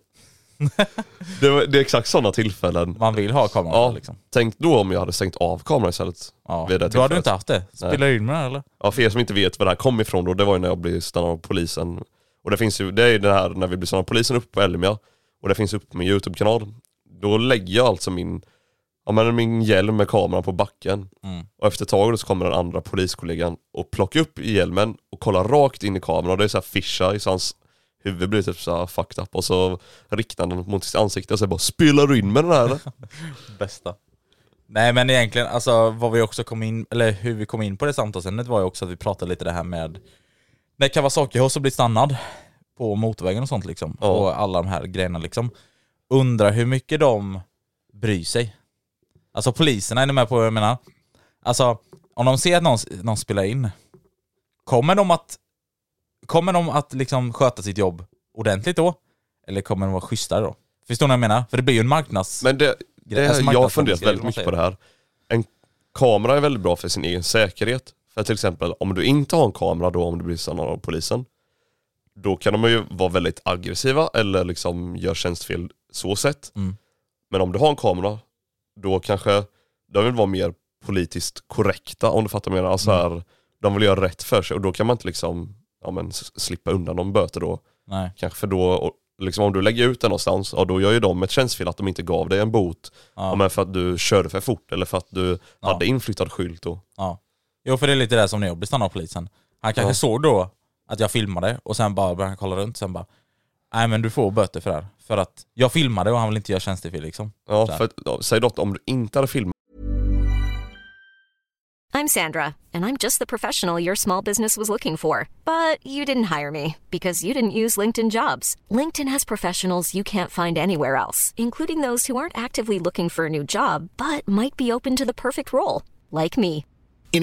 Det, var- det är exakt sådana tillfällen.
Man vill ha kameran
Ja,
liksom.
tänk då om jag hade stängt av kameran istället.
Ja.
vid det
Då hade
tillfället.
du inte haft det. Spelar du in med det här eller?
Ja, för er som inte vet var det här kom ifrån då, det var ju när jag blev stannad av polisen. Och det finns ju, det är ju det här när vi blir stannade av polisen uppe på Elmia och det finns uppe på min YouTube-kanal. Då lägger jag alltså min, ja men min hjälm med kameran på backen. Och efter ett tag då så kommer den andra poliskollegan och plockar upp hjälmen och kollar rakt in i kameran och det är så här fisheye så hans huvud blir typ så här fucked up och så riktar han den mot sitt ansikte och säger bara 'Spelar du in med den här eller?'
Bästa. Nej men egentligen, alltså vad vi också kom in, eller hur vi kom in på det samtalsämnet var ju också att vi pratade lite det här med när Kawasaki har så blivit stannad på motorvägen och sånt liksom.
Ja.
Och alla de här grejerna liksom. Undrar hur mycket de bryr sig. Alltså poliserna, är ni med på vad jag menar? Alltså, om de ser att någon, någon spelar in, kommer de att Kommer de att liksom sköta sitt jobb ordentligt då? Eller kommer de vara schysstare då? Förstår ni vad jag menar? För det blir ju en marknads...
Men det, det
Alltså
jag har funderat
marknadsföringsgrejer,
väldigt
man
mycket på
säger.
det här. En kamera är väldigt bra för sin egen säkerhet. För till exempel om du inte har en kamera då om du blir stannad av polisen, då kan de ju vara väldigt aggressiva eller liksom gör tjänstfel så sett.
Mm.
Men om du har en kamera, då kanske de vill vara mer politiskt korrekta om du fattar vad jag menar. Alltså
Mm.
här, de vill göra rätt för sig och då kan man inte liksom ja, men, s- slippa undan de böter då.
Nej.
Kanske för då, och liksom om du lägger ut den någonstans, ja, då gör ju de ett tjänstfel att de inte gav dig en bot. Ja. men för att du körde för fort eller för att du hade inflyttad skylt då.
Ja. Jo för det är lite det som när jag blev stannad av polisen. Han kanske såg då att jag filmade och sen bara började han kolla runt sen bara Nej men du får böter för det här. För att jag filmade och han vill inte göra tjänstefel liksom.
Ja,
Så här.
för att, ja, säg då att om du inte hade filmat
I'm Sandra, and I'm just the professional your small business was looking for. But you didn't hire me because you didn't use LinkedIn jobs. LinkedIn has professionals you can't find anywhere else, including those who aren't actively looking for a new job but might be open to the perfect role, like me.
In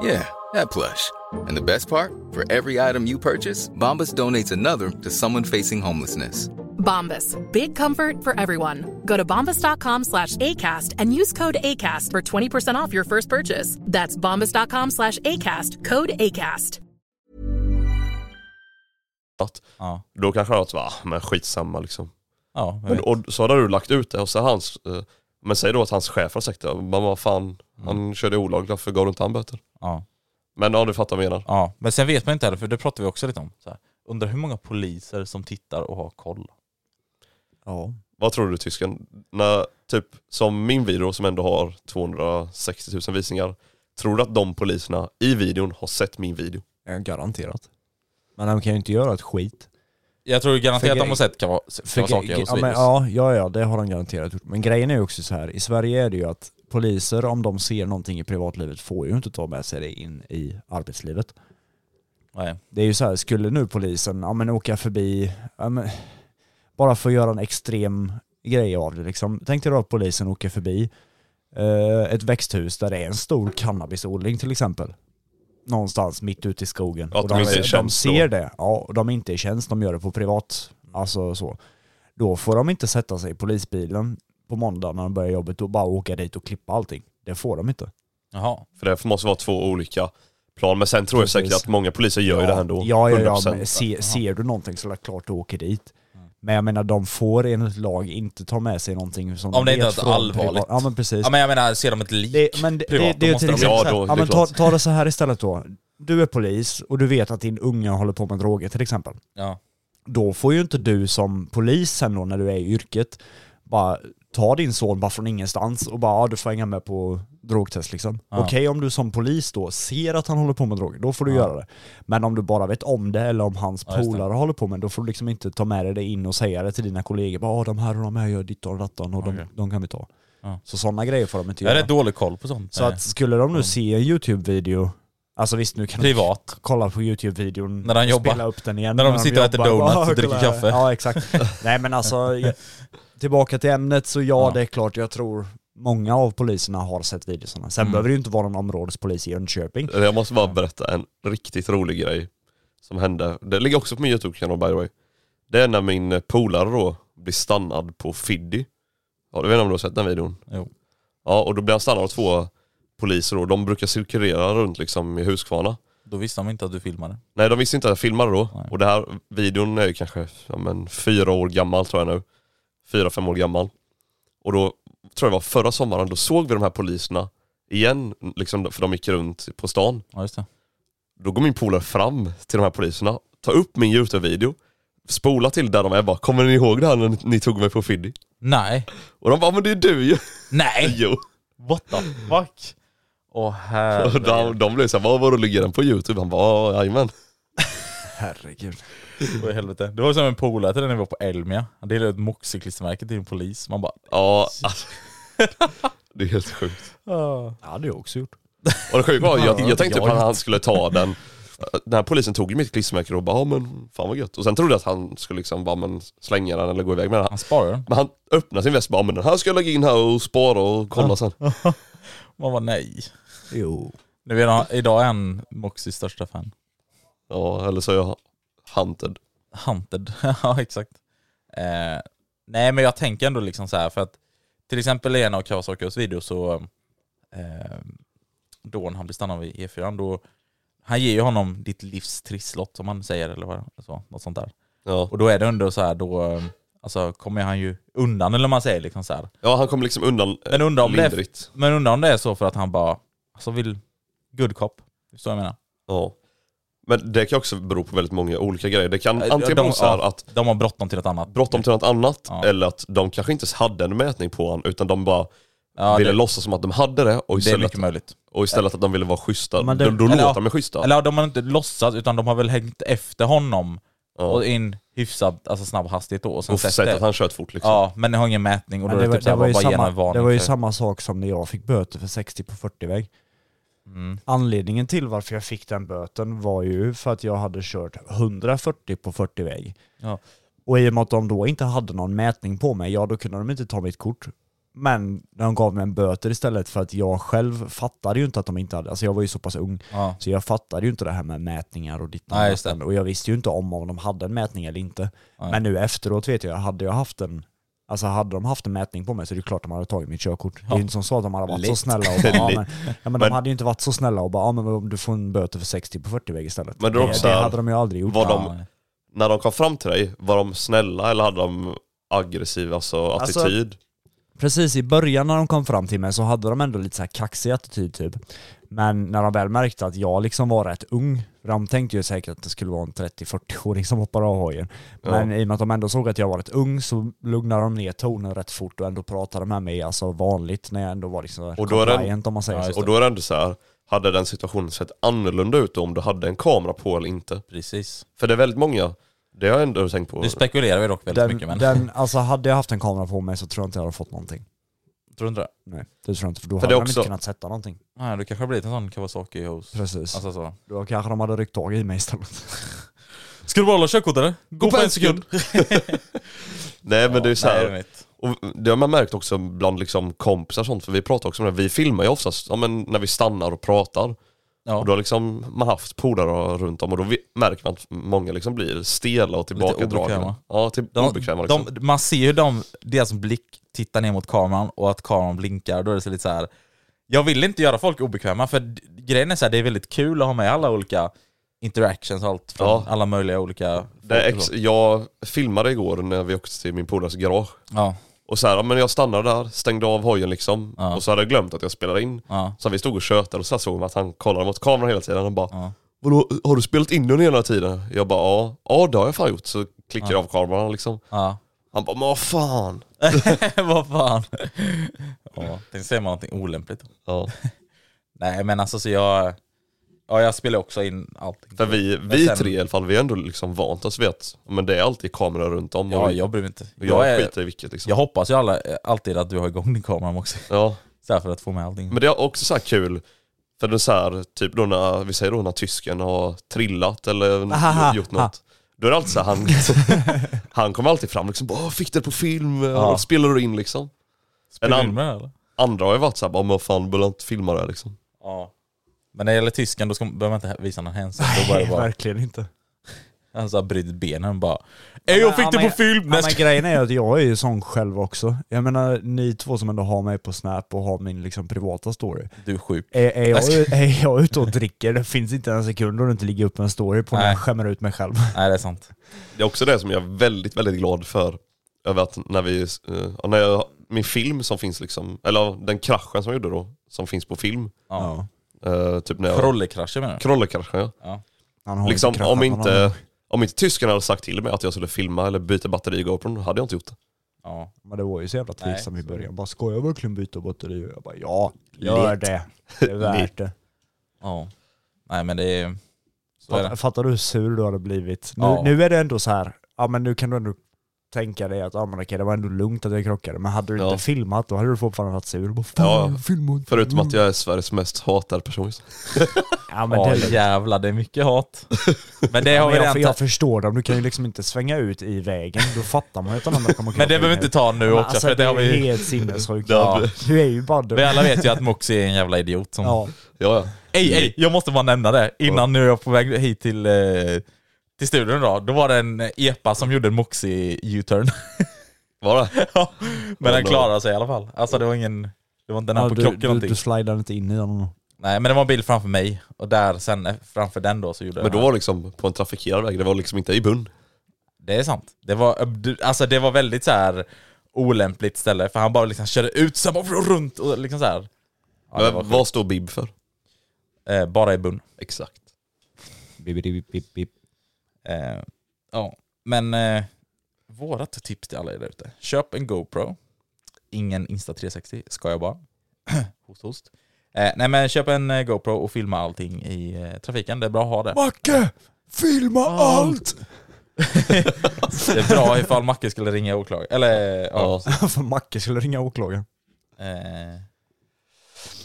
Yeah, that plush. And the best part? For every item you purchase, Bombas donates another to someone facing homelessness.
Bombas. Big comfort for everyone. Go to bombas.com slash ACAST and use code ACAST for 20% off your first purchase. That's bombas.com slash ACAST. Code ACAST.
Ja.
då kanske han hade varit så bara, "Ah, men skitsamma liksom.
Ja, jag
Men,
vet.
och så hade du lagt ut det och så hans, eh, men säg då att hans chef har sagt det, man vad fan,
Mm.
han körde olagligt, varför gav du inte han böter?
Ja.
Men ja, du fattar vad jag menar.
ja. Men sen vet man inte heller för det pratar vi också lite om. Så här. Undrar hur många poliser som tittar och har koll.
Ja.
Vad tror du tysken? När, typ, som min video som ändå har 260 000 visningar, tror du att de poliserna i videon har sett min video?
Ja, Garanterat. Men de kan ju inte göra ett skit.
Jag tror
För
garanterat att de
grej-
har sett Kawasaki och
ge-
videos.
ja, men, ja, ja, ja, det har de garanterat gjort. Men grejen är ju också så här, i Sverige är det ju att poliser om de ser någonting i privatlivet får ju inte ta med sig det in i arbetslivet.
Nej.
Det är ju så här, skulle nu polisen ja, men åka förbi, ja, men, bara för att göra en extrem grej av det liksom. Tänk dig då att polisen åker förbi eh, ett växthus där det är en stor cannabisodling till exempel. Någonstans mitt ute i skogen.
Ja, att de inte är i
de
tjänst då.
ser det, ja, och de är inte i tjänst, de gör det på privat. Alltså så. Då får de inte sätta sig i polisbilen på måndag när de börjar jobbet och bara åka dit och klippa allting. Det får de inte.
Jaha.
För det måste vara två olika plan. Men sen tror jag säkert
Precis.
att många poliser gör ju det här ändå.
Ja, ja, ja
100%.
men se, ser du någonting så är det klart du åker dit.
Mm.
Men jag menar de får enligt lag inte ta med sig någonting som
Om det
de
inte är
vet
något
från
allvarligt.
privat- Ja men precis.
Ja men jag menar, ser de ett lik
det, men det,
privat,
det, det
då
är
måste
till
de
Ja,
exempel så här-
då, det
ja,
är
men ta,
klart.
ta det så här istället då. Du är polis och du vet att din unge håller på med droger till exempel.
Ja.
Då får ju inte du som polis sen då när du är i yrket bara ta din son bara från ingenstans och bara ja, du får hänga med på drogtest liksom. Okej om du som polis då ser att han håller på med droger, då får du göra det. Men om du bara vet om det eller om hans polare håller på med det, då får du liksom inte ta med dig det in och säga det till dina kollegor. Bara, "Ja, de här och de här gör ditt och dattan och de, de kan vi ta. Så sådana grejer får de inte
Jag har
göra.
rätt dålig koll på sånt. Eh,
Så att skulle de nu se en YouTube-video, Alltså visst, nu kan
Privat.
du kolla på YouTube-videon,
När han jobbar.
spela upp den igen.
När de sitter och äter
jobbar.
donuts och
Bara,
dricker
kolla.
kaffe.
Ja, exakt. Nej men alltså, jag, tillbaka till ämnet, så ja,
Ja.
det är klart, jag tror många av poliserna har sett videorna.
Mm.
Sen behöver det ju inte vara någon områdespolis i Jönköping.
Jag måste bara berätta en riktigt rolig grej som hände. Det ligger också på min YouTube-kanal by the way. Det är när min polare då blir stannad på Fiddy. Ja, du vet inte om du har sett den videon?
Jo.
Ja, och då blir han stannad av två poliser då. De brukar cirkulera runt liksom i Huskvarna.
Då visste de inte att du filmade.
Nej, de visste inte att jag filmade då.
Nej.
Och det här videon är ju kanske ja, men, fyra år gammal tror jag nu. Fyra, fem år gammal. Och då tror jag det var förra sommaren, då såg vi de här poliserna igen, liksom, för de gick runt på stan.
Ja just det.
Då går min polare fram till de här poliserna, tar upp min Youtube-video, spolar till där de är bara 'Kommer ni ihåg det här när ni, ni tog mig på Fiddy?'
Nej.
Och de bara 'Men det är du ju!'
Nej!
jo.
What the fuck? Åh
Och
herregud.
de, de blev såhär 'Vad var det ligger den på Youtube?' Han bara "Ja, 'Jajamän'
Herregud.
Åh, i helvete. Det var som en polare till den när vi var på Elmia. Han delade ut Moxie-klistermärket till en polis. Man bara...
Ja, alltså, Det är helt sjukt.
Ja, det har jag också gjort.
Och det sjuka var, jag, jag tänkte
Ja,
på att
ja.
han skulle ta den. Den här polisen tog ju mitt klistermärke och bara, ja men fan vad gött. Och sen trodde jag att han skulle liksom bara, men slänga den eller gå iväg med den.
Han sparar den.
Men han öppnade sin väst och bara, men den här ska jag lägga in här och spara och kolla sen.
Man bara nej.
Jo.
Nu är han, idag är han Moxies största fan.
Ja, eller så är jag hunted.
Hunted. ja, exakt. Eh, nej, men jag tänker ändå liksom så här för att till exempel i en av Kawasakios videor så eh, då när han blir stannad vid E4, då han ger ju honom ditt livs trisslott som han säger eller vad så, något sånt där.
Ja.
Och då är det ändå så här då eh, alltså kommer han ju undan eller vad man säger liksom så här.
ja, han kom liksom undan eh,
Men undrar om det är,
lindrigt.
men undrar om det är så för att han bara alltså vill good cop. Förstår du vad jag menar?
Ja. Men det kan också bero på väldigt många olika grejer. Det kan
Eh,
antingen
de-
vara så här
ja,
att
De har bråttom till något annat.
bråttom till något annat
Ja.
eller att de kanske inte ens hade en mätning på honom utan de bara
Ja,
ville
det,
låtsas som att de hade det och
det är
istället,
mycket möjligt.
och istället att de ville vara schyssta.
Men det-
då då
eller
låter
ja,
de ju schyssta.
Eller ja, de har inte låtsats, utan de har väl hängt efter honom
Ja.
och in hyfsat alltså snabb hastighet då. Och sen
Och
sett
sett
det.
att han kört fort liksom.
Ja, men det har ingen mätning och då
Men det,
är
var,
det typ
det,
såhär,
var
bara
ju
ge en
samma,
varning.
det var ju
för-
samma sak som när jag fick böter för 60 på 40-väg.
Mm.
Anledningen till varför jag fick den böten var ju för att jag hade kört 140 på 40-väg.
Ja.
Och i och med att de då inte hade någon mätning på mig, ja då kunde de inte ta mitt kort. Men de gav mig en böter istället för att jag själv fattade ju inte att de inte hade, alltså jag var ju så pass ung,
Ja.
så jag fattade ju inte det här med mätningar och ditt och
Nej, just
datten.
det.
Och jag visste ju inte om om de hade en mätning eller inte.
Nej.
Men nu efteråt vet jag, hade jag haft en Alltså hade de haft en mätning på mig så är det klart de hade tagit mitt körkort. Det är ju inte som så att de hade varit så
Lätt.
snälla och bara, ja, men, ja, men de
Men-
hade ju inte varit så snälla och bara ja, men du får en böter för 60 på 40-väg istället.
Men det är också
det,
här-
hade de ju aldrig gjort.
Var
Ja,
de, när de kom fram till dig, var de snälla eller hade de aggressiv alltså,
Alltså-
attityd?
Precis i början när de kom fram till mig så hade de ändå lite så här kaxig attityd typ. Men när de väl märkte att jag liksom var rätt ung, för de tänkte ju säkert att det skulle vara en 30-40-åring som hoppar av hojen. Men i och med att de ändå såg att jag var rätt ung så lugnade de ner tonen rätt fort och ändå pratade med mig alltså vanligt när jag ändå var liksom
Och då är det-
compliant om man säger så.
och då är det ändå så här, hade den situationen sett annorlunda ut om du hade en kamera på eller inte?
Precis.
För det är väldigt många, det har jag ändå tänkt på.
Nu spekulerar vi dock väldigt
Den,
mycket men...
den, alltså hade jag haft en kamera på mig så tror jag inte jag hade fått någonting.
Tror du inte det?
Nej, det tror jag inte. För då
För
hade
det är
de
också-
inte kunnat sätta någonting.
Nej, du kanske har blivit en sån Kawasaki-host.
Precis.
Alltså så.
Då kanske de hade ryckt tag i mig istället.
Ska du behålla körkortet eller? Gå på en sekund!
nej men det är så
Nej,
här,
jag vet.
och det har man märkt också bland liksom kompisar och sånt, för vi pratar också om det, vi filmar ju oftast ja, men när vi stannar och pratar.
Ja.
Och då har liksom man haft polare runt om och då vi- märker man att många liksom blir stela och tillbakadragna.
obekväma. typ
Ja, till,
De,
obekväma liksom.
de, man ser ju dem, deras blick tittar ner mot kameran och att kameran blinkar. Då är det så lite så här. Jag vill inte göra folk obekväma för d- grejen är så här, det är väldigt kul att ha med alla olika interactions och allt från
Ja.
alla möjliga olika...
Det är
folk och
ex-
så.
jag filmade igår när vi åkte till min polares garage.
ja,
Och så här, ja, men jag stannade där, stängde av hojen liksom.
Ja.
Och så hade jag glömt att jag spelade in.
ja.
Så vi stod och tjötade och så här såg man att han kollade mot kameran hela tiden. Han bara Vadå, har du spelat in den hela tiden? Jag bara ja, ja det har jag fan gjort. Så klickar jag av kameran liksom.
Ja.
Han bara men vad fan.
Vad fan. ja, tänk säger man någonting olämpligt.
Ja.
Nej men alltså så jag... Ja jag spelar också in allting.
För vi, vi tre i alla fall, vi har ändå liksom vant oss vid att men det är alltid kamera runt om.
Ja
och jag,
jag bryr mig inte.
jag
Jag, är,
skiter i vilket liksom.
jag hoppas ju alla, alltid att du har igång din kamera också.
Ja.
Så här för att få med allting.
Men det är också så här kul, För det är så här, typ då när, vi säger då när tysken har trillat eller
Aha,
gjort
aha.
något. Då är det alltid så här, han, han kommer alltid fram liksom bara "Åh, fick det på film,
Ja.
och spelar du in liksom. En
Spelar du
an-
in med det, eller?
Andra har ju varit såhär, bara men vad fan behöver jag inte filma det här?" liksom.
Ja. Men när det gäller tysken då ska, behöver man inte hä- visa någon hänsyn. Då bara det
Nej,
bara,
verkligen inte.
han så här bryter benen bara. Ey jag fick det på film! Nej,
Men
ska-
grejen är att jag är ju sån själv också. Jag menar, ni två som ändå har mig på Snap och har min liksom privata story.
Du är sjuk.
Är, är, jag,
Jag ska-
är jag ute och dricker, det finns inte en sekund då det inte ligger upp en story på när
Nej.
jag skämmer ut mig själv.
Nej det är sant.
Det är också det som jag är väldigt, väldigt glad för. Över att när vi, eh, ja, när jag, min film som finns liksom, eller ja, den kraschen som jag gjorde då, som finns på film.
Ja.
eh, typ när jag...
Krollekrascher menar du?
Krollekraschen ja.
Han har
Liksom,
kraschat
om,
någon annan.
inte, om inte tyskarna hade sagt till mig att jag skulle filma eller byta batteri i GoPron, hade jag inte gjort det.
Ja.
Men det var ju så jävla
Nej,
trivsamt i
så är det.
början. Bara, ska jag verkligen byta batteri? Och Jag bara, ja, gör det. Det är värt det.
Ja. Nej men det är... Så är
Fattar,
det.
fattar du hur sur du hade blivit? Nu,
Ja.
nu är det ändå så här, ja men nu kan du ändå tänka dig att ah, men okej, det var ändå lugnt att jag krockade, men hade du
Ja.
inte filmat då hade du fortfarande varit sur. Bara, Fan,
Ja.
jag filmade inte."
Förutom att jag är Sveriges mest hatade person.
Ja men
Ja
det är
jävlar det är mycket hat. Men det har
men
vi
jag,
redan...
jag
ta-
förstår dem, du kan ju liksom inte svänga ut i vägen, då fattar man ju att den andra kommer
Men det behöver vi inte ta nu
nu
också
också. Alltså,
för det har
är
vi...
helt sinnessjukt.
Ja.
Du är ju bara dum.
Vi alla vet ju att Moxie är en jävla idiot som...
Ja.
Ja, ja.
Ey, ey, jag måste bara nämna det. Innan nu är jag på väg hit till, eh, till studion idag. Då var det en eh, epa som gjorde en moxie U-turn.
Var det?
Ja, men den
då-
klarade sig i alla fall. Alltså det var ingen... Det var inte den här
Ja,
på
du,
krocken
du,
någonting.
du slidar inte in i den.
Nej, men det var en bil framför mig. Och där sen, eh, framför den då, så gjorde
Men
den
då
här.
var det liksom på en trafikerad väg, det var liksom inte i bund.
Det är sant. Det var, du- alltså det var väldigt så här olämpligt ställe. För han bara liksom körde ut, sen bara runt och liksom så här. Ja, det var
Men vad står Bib för?
Eh, bara i bun.
Exakt.
Eh, ja, men eh, vårat tips till alla er där ute. Köp en GoPro. Ingen Insta360, ska jag bara. host, host. Eh, nej men köp en eh, GoPro och filma allting i eh, trafiken. Det är bra att ha det.
Macke! Filma allt!
Det är bra ifall Macke skulle ringa åklagare. Eller eh, ja.
För Macke skulle ringa åklagaren.
Eh,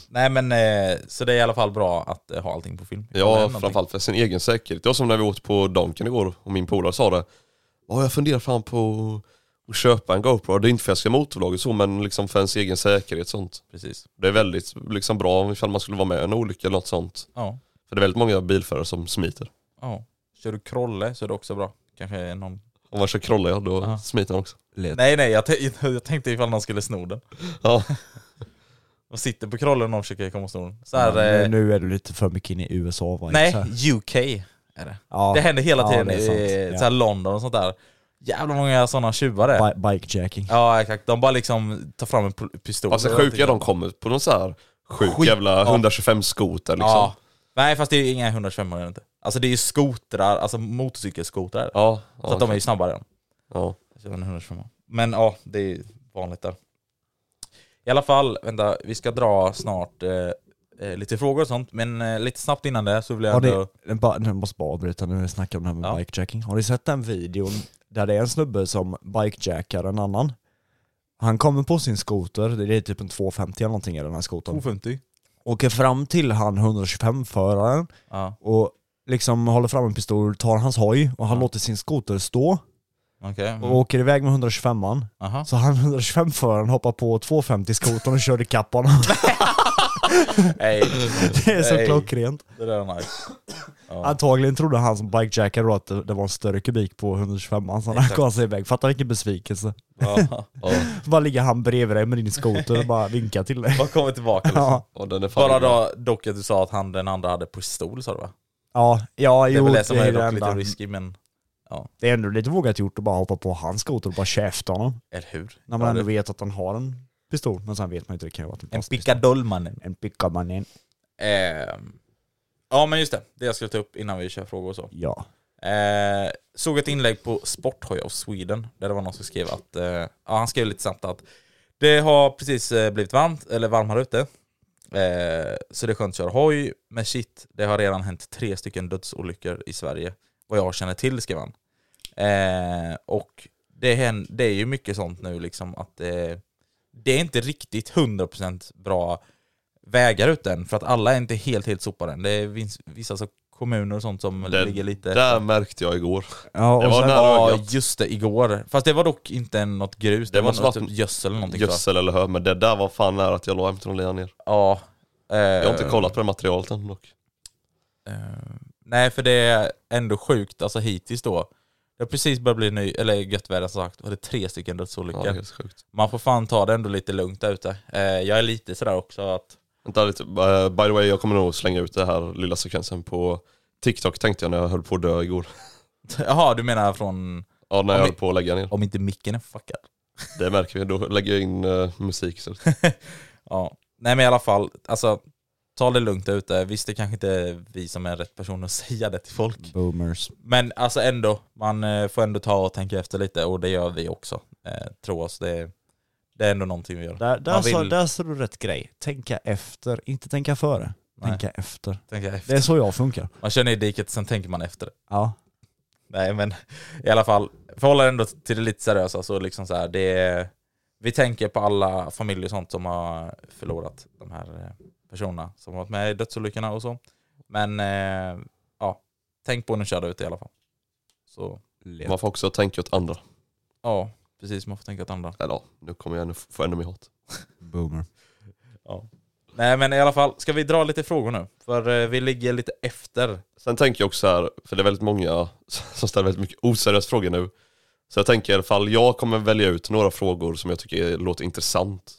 nej men, eh, så det är i alla fall bra att eh, ha allting på film. Eller
Ja,
någonting.
framförallt för sin egen säkerhet. Det var som när vi åt på Donken igår och min polare sa det. Ja, jag funderar fan på att köpa en GoPro. Det är inte för att jag ska motorvlogga och så, men liksom för ens egen säkerhet och sånt.
Precis.
Det är väldigt liksom, bra ifall man skulle vara med i en olycka eller något sånt.
Ja.
För det är väldigt många bilförare som smiter.
ja. Kör du krolle så är det också bra. Kanske någon...
Om man kör krolla, ja då smiter man också.
Nej nej, jag, t- jag tänkte ifall någon skulle sno den.
Ja,
Och sitter på krollen och någon försöker komma och sno den. Så här,
Nu,
eh,
nu är du lite för mycket inne i USA va?
nej,
Så här.
UK är det.
Ja.
Det händer hela
Ja,
tiden
det är sant.
i
Ja.
så här, London och sånt där. Jävla många sådana tjuvar det är.
Bi- Bikejacking.
Ja exakt, de bara liksom tar fram en pol- pistol.
alltså
Eller
sjuka de
någonting.
kommer på någon så här sjuk
Skit,
jävla
ja.
125 skoter liksom.
Ja.
Ja.
Nej fast det är ju inga 125 är det inte. Alltså det är ju skotrar, alltså motorcykelskotrar.
Ja,
så att de är ju snabbare än.
ja.
Så en 125. Men ja, det är vanligt där. I alla fall, vänta, vi ska dra snart eh, eh, lite frågor och sånt, men eh, lite snabbt innan det så vill jag
Har
ändå...
ni, jag bara, jag måste bara avbryta nu när vi snackar om det här med
Ja.
bikejacking. Har ni sett den videon där det är en snubbe som bikejackar en annan? Han kommer på sin skoter, det är typ en 250 eller någonting i den här skotern.
250.
Åker fram till han 125-föraren
Ja,
och liksom håller fram en pistol, tar hans hoj och han låter sin skoter stå
okej.
och
Mm.
åker iväg med 125an.
Aha.
Så han 125-föraren hoppar på 250-skotern och kör ikapp honom.
Nej,
Det är så
Nej.
klockrent.
det där är nice.
Antagligen trodde han som bikejackade då att det, det var en större kubik på 125an, så han gav sig iväg. Fattar vilken besvikelse.
Ja,
Så bara ligger han bredvid dig med din skoter och bara vinkar till dig.
bara kommer tillbaka liksom.
Ja,
Och den är fan
Bara
bra.
då, dock att du sa att han, den andra hade pistol sa du va?
ja, ja
Det är
jo,
väl det som är,
det,
dock lite
enda.
risky men,
det är ändå lite vågat gjort att bara hoppa på hans skoter och bara käfta honom.
eller hur?
När man
Ja,
ändå
det-
vet att han har en pistol, men sen vet man inte, det kan ju vara en
En
plastpistol.
pickadoll mannen.
En pickabanin.
Ehm, ja men just det, det jag skulle ta upp innan vi kör frågor och så.
Ja.
Eh, såg ett inlägg på Sporthoj of Sweden där det var någon som skrev att, eh, ja han skrev lite snabbt att det har precis eh, blivit varmt, eller varmare ute. Eh, så det är skönt att köra hoj, men shit, det har redan hänt tre stycken dödsolyckor i Sverige. Vad jag känner till skrev han. Eh, och det, hän- det är ju mycket sånt nu liksom att eh, det är inte riktigt 100% bra vägar ut den, för att alla är inte helt, helt sopade än. Det är vins- vissa så kommuner och sånt som
Det-
ligger lite...
Där märkte jag igår.
Ja,
det
och
var
sen-
nära
Ja,
ögat.
just det, igår. Fast det var dock inte en- något grus, det,
Det
var
måste
något
varit
typ gödsel eller någonting tror jag.
Gödsel eller hö, men det där var fan nära att jag la M10 linan ner.
Ja. eh,
Jag har inte kollat på det materialet än dock.
Nej, för det är ändå sjukt, alltså hittills då. Det har precis börjat bli ny, eller gött väder som sagt, och det är tre stycken
Ja, det är
dödsolyckor.
helt sjukt.
Man får fan ta det ändå lite lugnt där ute. Eh, jag är lite sådär också att,
Vänta lite, eh, by the way jag kommer nog slänga ut den här lilla sekvensen på TikTok tänkte jag när jag höll på att dö igår.
jaha du menar från,
Ja när jag
Om vi-
höll på att lägga ner.
om inte micken är fuckad?
Det märker vi, då lägger jag in eh, musik. Så.
Ja. Nej men i alla fall, alltså ta det lugnt där ute. Visst det kanske inte är vi som är rätt person att säga det till folk.
Boomers.
Men alltså ändå, man eh, får ändå ta och tänka efter lite och det gör vi också. Eh, tro oss, det, det är ändå någonting vi gör.
Där, där,
man
sa, där sa du rätt grej. Tänka efter, inte tänka före.
Nej.
Tänka efter.
tänka efter.
Det är så jag funkar.
Man kör ner i diket, sen tänker man efter.
Ja.
Nej men i alla fall, för att hålla ändå till det lite seriösa så liksom så här, det är, Vi tänker på alla familjer och sånt som har förlorat de här eh, personerna som har varit med i dödsolyckorna och så. Men eh, ja, tänk på när du kör ut i alla fall. Så
Man får också tänka åt andra.
ja, precis, man får tänka åt andra.
Eller ja, nu kommer jag nu få ännu mer hat.
Boomer.
Nej men i alla fall, ska vi dra lite frågor nu? För eh, vi ligger lite efter.
Sen tänker jag också så här, för det är väldigt många som ställer väldigt mycket oseriösa frågor nu. Så jag tänker i alla fall, jag kommer välja ut några frågor som jag tycker är- låter intressant.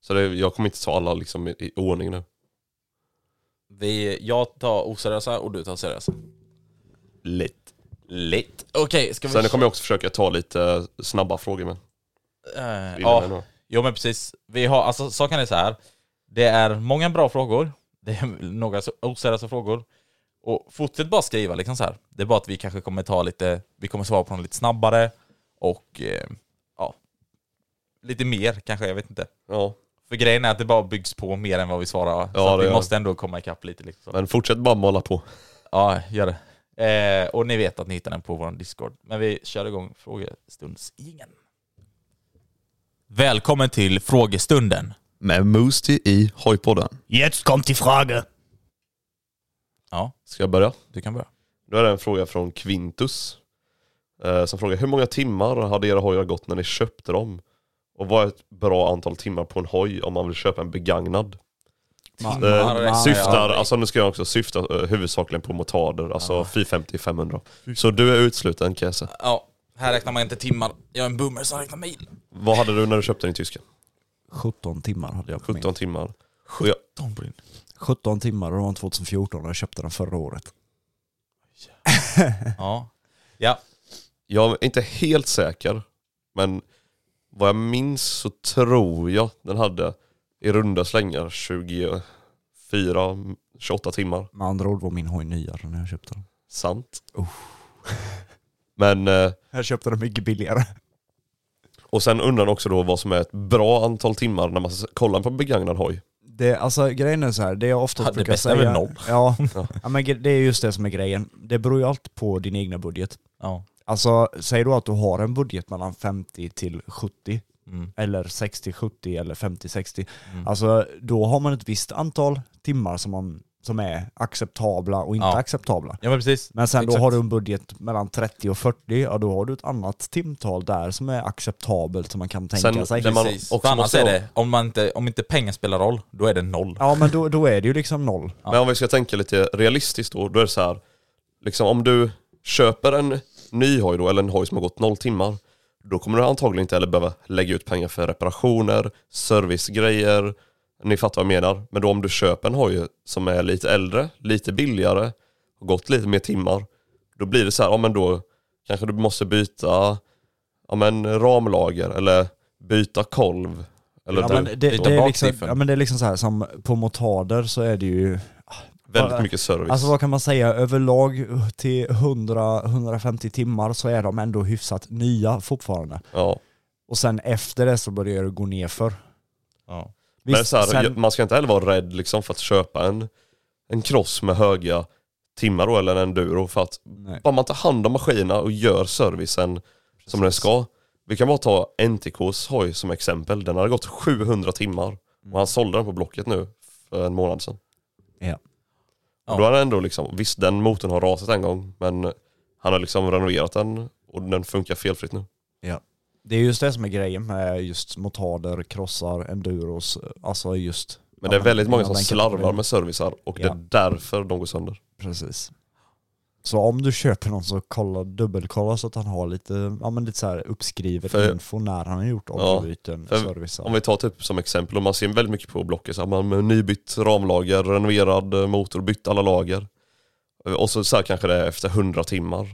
Så det, jag kommer inte ta alla liksom i, i ordning nu.
Vi, jag tar oseriösa och du tar seriösa.
Lätt.
Lite. Okej, ska vi...
Sen kommer jag också försöka ta lite snabba frågor med.
Eh,
Vill du med
ja,
några?
Jo men precis, vi har, alltså saken är så här. Det är många bra frågor, det är några så- oseriösa frågor. Och fortsätt bara skriva liksom så här. Det är bara att vi kanske kommer ta lite, vi kommer svara på dem lite snabbare och eh, ja, lite mer kanske, jag vet inte.
Ja.
För grejen är att det bara byggs på mer än vad vi svarar, så
Ja,
att
det
vi
gör
måste ändå komma ikapp lite liksom.
Men fortsätt bara mala på.
Ja, gör det. Eh, och ni vet att ni hittar den på vår Discord. Men vi kör igång frågestundsingen. Välkommen till frågestunden.
Med Moosty i Hojpodden.
Jetzt kommt die Frage.
Ja,
Ska jag börja?
du kan börja.
Då är det en fråga från Quintus. Eh, som frågar, hur många timmar hade era hojar gått när ni köpte dem? Och vad är ett bra antal timmar på en hoj om man vill köpa en begagnad?
Timmar,
Eh,
ja.
syftar, alltså nu ska jag också syfta eh, huvudsakligen på motarder, alltså 450-500. Så du är utesluten Kese.
Ja, här räknar man inte timmar. Jag är en boomer som räknar mil.
Vad hade du när du köpte den i tyska?
17 timmar hade jag på
17
min.
timmar. Och jag,
17 timmar och det var 2014 och jag köpte den förra året.
Ja. Ja,
jag är inte helt säker, men vad jag minns så tror jag den hade i runda slängar 24, 28 timmar.
Med andra ord var min hoj nyare när jag köpte den.
Sant. Men, eh,
Jag köpte den mycket billigare.
och sen undrar han också då vad som är ett bra antal timmar när man s- kollar på en begagnad hoj.
Det, alltså grejen är så här, det jag ofta
Ja, det
brukar
bästa är
säga...
väl noll.
Ja, ja men gre- det är just det som är grejen. Det beror ju alltid på din egna budget.
ja.
Alltså, säg då att du har en budget mellan 50 till 70. Eller 60-70 eller 50-60. Alltså, då har man ett visst antal timmar som, man, som är acceptabla och inte
Ja.
acceptabla.
ja men precis.
Men sen då
Exakt.
har du en budget mellan 30 och 40, ja då har du ett annat timtal där som är acceptabelt som man kan tänka
Sen-
sig.
där man
Precis.
också
För annars
måste
alltså, är
ha-
det, om, man inte, om inte pengar spelar roll, då är det noll.
Ja men då, då är det ju liksom noll.
Men om vi ska tänka lite realistiskt då, då är det så här. Liksom om du köper en ny hoj då, eller en hoj som har gått noll timmar, då kommer du antagligen inte heller behöva lägga ut pengar för reparationer, servicegrejer, ni fattar vad jag menar. Men då om du köper en hoj som är lite äldre, lite billigare, har gått lite mer timmar, då blir det så här, ja men då kanske du måste byta ja, men ramlager eller byta kolv. Eller typ
Ja,
du-
men det, det, är
bak
liksom,
diffen.
ja men det är liksom så här som på motarder så är det ju
väldigt mycket service.
Alltså vad kan man säga, överlag till 100-150 timmar så är de ändå hyfsat nya fortfarande.
ja.
Och sen efter det så börjar det gå ner för.
Ja.
Men så här,
sen-
jag- Man ska inte heller vara rädd liksom för att köpa en, en cross med höga timmar då, eller en enduro för att
Nej.
bara man tar hand om maskinerna och gör servicen som den ska. Vi kan bara ta
Mm.
NTKs hoj som exempel, den hade gått 700 timmar och han sålde den på Blocket nu för en månad sedan.
Ja.
Och Då har han ändå liksom, visst den motorn har rasat en gång men han har liksom renoverat den och den funkar felfritt nu.
Ja. Det är just det som är grejen med just motarder, krossar, enduros, alltså just...
Men det är
ja,
väldigt många som
den
slarvar
kategorin.
med servicar och
Ja.
det är därför de går sönder.
Precis. Så om du köper någon så kolla, dubbelkolla så att han har lite, ja, men lite så här uppskrivet
För-
info när han har gjort
Ja,
oljebyten,
för-
service.
Om vi tar typ som exempel, och man ser väldigt mycket på Blocket, så här, man med nybytt ramlager, renoverad eh, motor, bytt alla lager. Eh, Och så, så här kanske det är efter 100 timmar.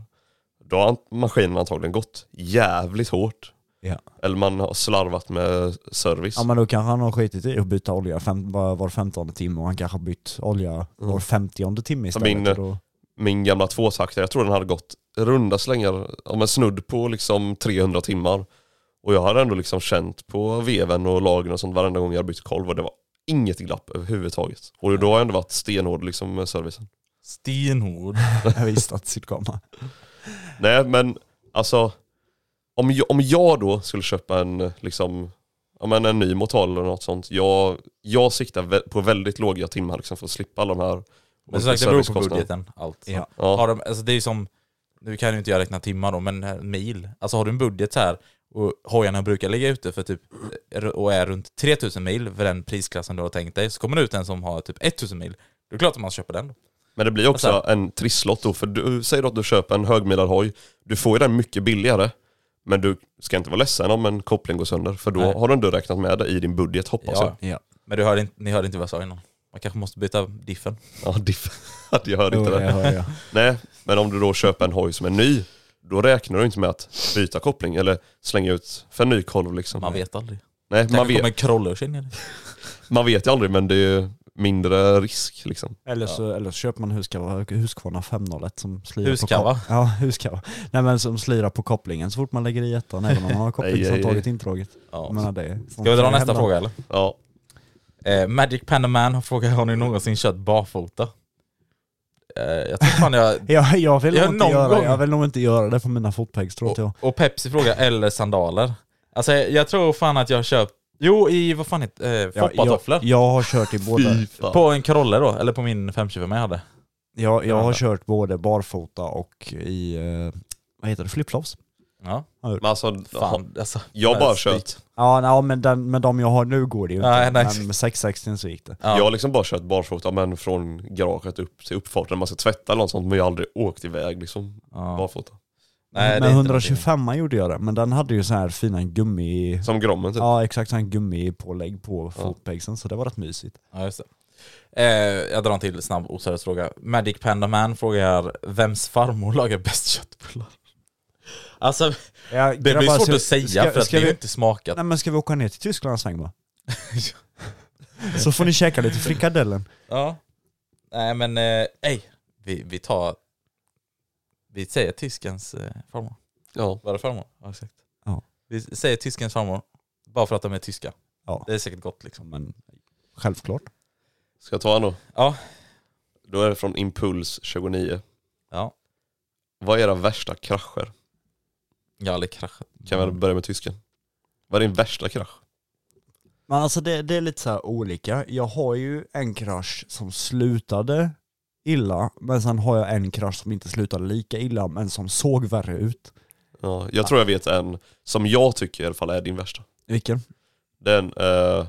Då har ant- maskinen antagligen gått jävligt hårt.
Ja.
Eller man har slarvat med service.
Ja men då kanske han har skitit i att byta olja fem, var, var femtonde timme och han kanske har bytt olja var femtionde timme
Som
istället.
Mm. min-
och då,
Min gamla tvåtaktare, jag tror den hade gått runda slängar, ja, men snudd på liksom 300 timmar. Och jag hade ändå liksom känt på veven och lagen och sånt varenda gång jag bytt kolv och det var inget glapp överhuvudtaget. Och då har jag ändå varit stenhård liksom med servicen.
Stenhård.
jag visste att det skulle komma.
Nej men alltså, om jag, om jag då skulle köpa en liksom, ja men en ny motor eller något sånt. Jag, jag siktar vä- på väldigt låga timmar liksom för att slippa alla de här
Men som sagt, det beror på
servicekostnaderna.
budgeten. Allt.
Ja.
Ja.
Har de, alltså det är som, nu kan ju inte jag räkna timmar då, men eh, mil. Alltså har du en budget så här och hojarna brukar ligga ute för typ, eh, och är runt 3000 mil för den prisklassen du har tänkt dig, så kommer det ut en som har typ 1000 mil. Det är klart att man köper den. då.
Men det blir ju också
Alltså-
en trisslott då, för du säger att du köper en högmilad hoj, du får ju den mycket billigare. Men du ska inte vara ledsen om en koppling går sönder, för då
Nej.
har du ändå räknat med det i din budget hoppas jag.
Ja.
Alltså. Men du hörde, inte- ni hörde inte vad jag sa innan. Man kanske måste byta diffen.
Ja, diff. jag hörde inte det.
hör jag.
Nej, men om du då köper en hoj som är ny, då räknar du inte med att byta koppling eller slänga ut för en ny kolv liksom.
Man vet aldrig.
Nej, man
Kanske
vet,
kommer Krollers in i det.
man vet ju aldrig men det är ju mindre risk liksom.
Eller, så, eller så köper man Husqvarna, Husqvarna 501 som slirar på
Husqvarna?
kop- Ja, Husqvarna. Nej men som slirar på kopplingen så fort man lägger i ettan, även om man har kopplingshandtaget indraget.
Ja.
Jag menar det.
Ska vi dra nästa fråga eller?
Ja,
Eh, Magic Panda Man har frågat har ni någonsin kört barfota? Eh, jag tror fan jag...
Ja, jag, vill
Ja,
nog inte
någon
göra,
gång.
jag vill nog inte göra det på mina fotpegs tror inte jag.
och, och Pepsi frågar eller sandaler. Alltså jag, jag tror fan att jag har köpt... Jo, i vad fan heter eh,
Ja,
Foppatofflor.
Jag, jag har kört i båda.
fy fan.
På en Corolla då, eller på min 525 jag hade.
Jag, jag har
Ja.
kört både barfota och i, eh, vad heter det, flipflops?
Ja,
Men alltså,
fan alltså.
jag har bara
Snyggt.
kört,
Ja, nej, men den, med de jag har nu går det ju inte.
Nej, nej.
Men med 660 så gick det.
Ja.
jag har liksom bara kört barfota men från garaget upp till uppfarten när man ska tvätta eller något sånt men jag har aldrig åkt iväg liksom barfota.
Nej, det är
med
inte
125 gjorde jag det, men den hade ju så här fina gummi...
Som Grommen typ.
Ja, exakt sån här gummipålägg på fotpegsen, så det var rätt mysigt.
Ja, just det. Eh, jag drar en till snabb oseriös fråga. Magic Panda Man frågar vems farmor lagar bäst köttbullar? Alltså,
Ja,
det blir svårt att säga för att det är ju inte smakat.
Nej men ska vi åka ner till Tyskland en sväng va? så får ni käka lite frikadellen.
Ja. Nej men, eh, ej. Vi, vi tar... Vi säger tyskens eh, farmor.
Ja.
Var det farmor? Ja, exakt.
Ja.
Vi säger tyskens farmor. Bara för att de är tyska.
Ja.
Det är säkert gott liksom.
Men självklart.
Ska jag ta en då?
Ja.
Då är det från Impuls 29.
Ja.
Vad är era värsta krascher?
Jag har aldrig kraschat.
Kan vi börja med tysken? Vad är din värsta krasch?
Men alltså det, det är lite så här olika. Jag har ju en krasch som slutade illa, men sen har jag en krasch som inte slutade lika illa, men som såg värre ut.
Ja, jag tror jag vet en som jag tycker i alla fall är din värsta.
Vilken?
Den, eh,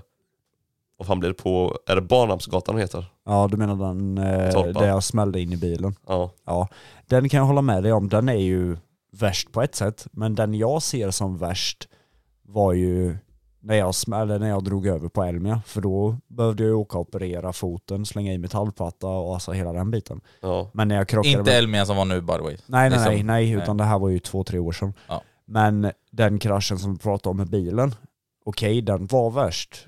vad fan blir det på, är det Barnhamnsgatan den heter?
Ja, du menar den eh,
Torpa.
där jag smällde in i bilen.
Ja.
Ja, den kan jag hålla med dig om. Den är ju värst på ett sätt, men den jag ser som värst var ju när jag, smällde, när jag drog över på Elmia, för då behövde jag ju åka och operera foten, slänga i metallplatta och alltså hela den biten.
ja.
Men när jag krockade
Inte
med-
Elmia som var nu by the way.
Nej, nej,
Liksom.
nej, nej, utan det här var ju två, tre år sedan.
Ja.
Men den kraschen som vi pratade om med bilen, okej, den var värst.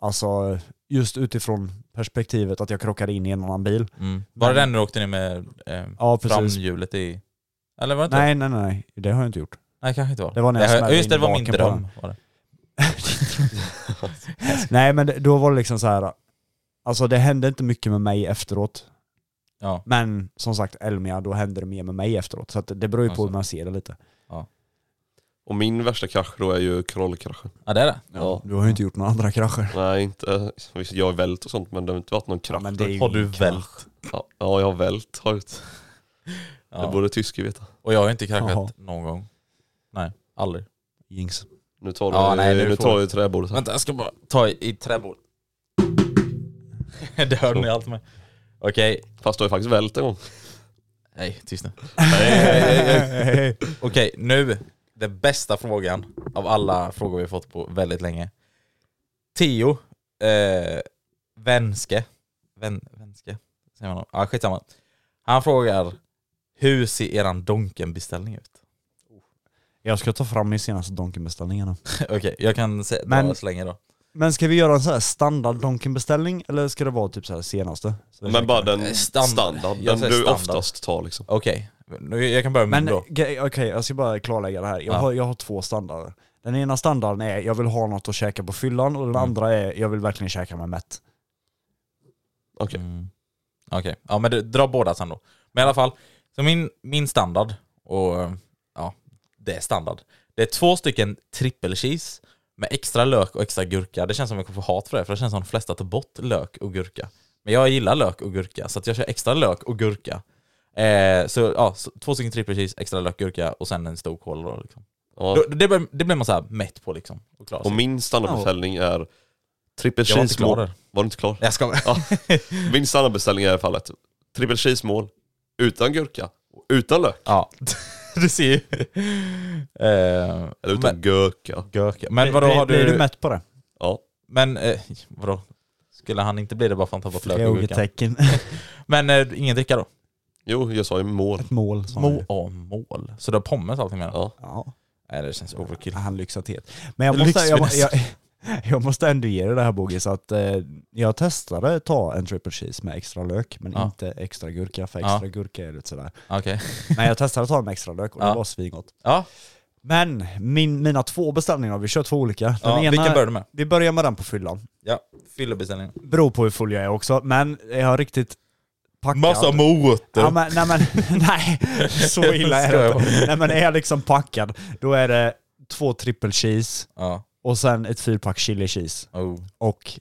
Alltså, just utifrån perspektivet att jag krockade in i en annan bil.
Mm. Var det
Men-
den du åkte ner med eh,
Ja, precis.
framhjulet i? Eller var det inte
Nej, nej, nej, det har jag inte gjort.
det? Nej, kanske inte var.
Det var när jag
har-
smällde
Just det,
in
det var min
baken på
dröm. Var det.
nej, men det, då var det liksom så här. Alltså det hände inte mycket med mig efteråt.
Ja.
Men som sagt, Elmia, då hände det mer med mig efteråt. Så att det beror ju på
Alltså.
hur man ser det lite.
Och min värsta krasch då är ju krollkraschen.
Ja det är det.
Ja.
Du har ju inte gjort några andra krascher.
Nej inte, visst jag har vält och sånt men det har inte varit någon krasch.
men det är ju
Har du
krasch.
vält?
ja, ja jag har vält har jag gjort.
Ja.
Det borde tyske veta.
Och jag har inte kraschat
Jaha.
någon gång. Nej, aldrig.
Jinx.
Nu tar du,
Ja, nej,
nu
nu får-
tar du träbordet här.
Vänta jag ska bara ta i, i träbord. det hörde ni allt med. Okej,
Fast du har ju faktiskt vält en gång.
nej tyst nu. Okej, nu den bästa frågan av alla frågor vi fått på väldigt länge. Tio, eh, Vänske, Vän, Vänske, säger man då? Ja, skitsamma. Han frågar, hur ser eran Donken-beställning ut?
Jag ska ta fram min senaste Donken-beställningarna.
Okej, jag kan se,
Men-
dra så länge då.
Men ska vi göra en så här standard Donken-beställning eller ska det vara typ så här senaste? Så det
Men bara
Eh,
den
standard.
standard,
Jag
den
säger
du
standard.
oftast tar liksom.
Okej, nu jag kan börja med
Men
min
ge-
då.
okej, jag ska bara klarlägga det här. Jag,
Ja.
har, jag har två standarder. Den ena standarden är jag vill ha något att käka på fyllan och den
Mm.
andra är jag vill verkligen käka mig mätt.
Okej.
Mm. Okej, ja men du, dra båda sen då. Men i alla fall, så min, min standard, och eh, ja, det är standard. Det är två stycken triple cheese med extra lök och extra gurka. Det känns som jag kommer få hat för det, för det känns som de flesta tar bort lök och gurka. Men jag gillar lök och gurka, så att jag kör extra lök och gurka. Eh, så ja, så, två stycken triple cheese, extra lök, gurka och sen en stor cola då liksom.
Ja.
Då, det, blir- det blir man så här mätt på liksom. Och klar,
Och min standardbeställning är triple
jag var
cheese
inte klar
mål.
där.
Var du inte klar?
Jag ska...
Ja. Min standardbeställning är i alla fall ett triple cheese mål utan gurka, och utan lök,
Ja, du ser ju. Eh,
eller utan
men,
gurka.
gurka. Men vadå
Blir-
har du...
Blir du mätt på det?
Ja.
Men eh, vadå? Skulle han inte bli det bara för att han tar bort lök och gurka?
Frågetecken.
Men eh, ingen dricka då?
Jo, jag sa ju mål.
Ett mål. sa han ju.
Må- ja, mål. Så du har pommes och allting med den?
Ja.
Ja,
Nej det känns overkill.
han lyxat helt. Men Ah, jag måste, jag,
Lyxfiness.
jag, jag måste ändå ge dig det här Bogis att eh, jag testade ta en triple cheese med extra lök men
Ja.
inte extra gurka för
Ja.
extra gurka är lite sådär.
Okej.
Men jag testade ta med extra lök och
Ja.
det var svingott.
Ja,
Men min, mina två beställningar, vi kör två olika. Den
ja vilken börjar du med?
Vi börjar med den på fyllan.
Ja, fyllebeställningen.
Beror på hur full jag är också, men jag har riktigt packat.
morötter!
Ja, men, nej men, nej, så illa är det inte. Nej men är jag liksom packad, då är det två triple cheese
Ja.
och sen ett fyrpack chili cheese
Oh,
och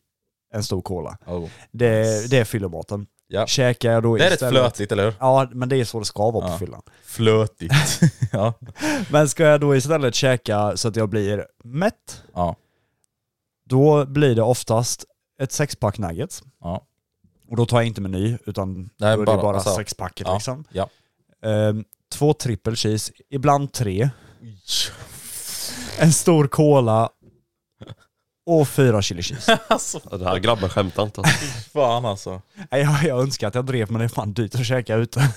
en stor cola.
oh.
Det, det är fyllematen.
Ja.
Käkar jag då
Det är rätt
istället...
flötigt, eller hur?
Ja, men det är så det ska vara
Ja.
på fyllan.
Flötigt. ja.
Men ska jag då istället käka så att jag blir mätt,
Ja.
då blir det oftast ett sexpack nuggets.
Ja.
Och då tar jag inte meny, utan
Nej,
då är
bara-
det bara
alltså,
sexpacket
ja,
liksom.
ja.
Ehm, två triple cheese, ibland tre. En stor cola och fyra chili cheese.
alltså
Den här grabben skämtar inte. alltså.
fan alltså.
Nej, jag, jag önskar att jag drev men det är fan dyrt att käka ute.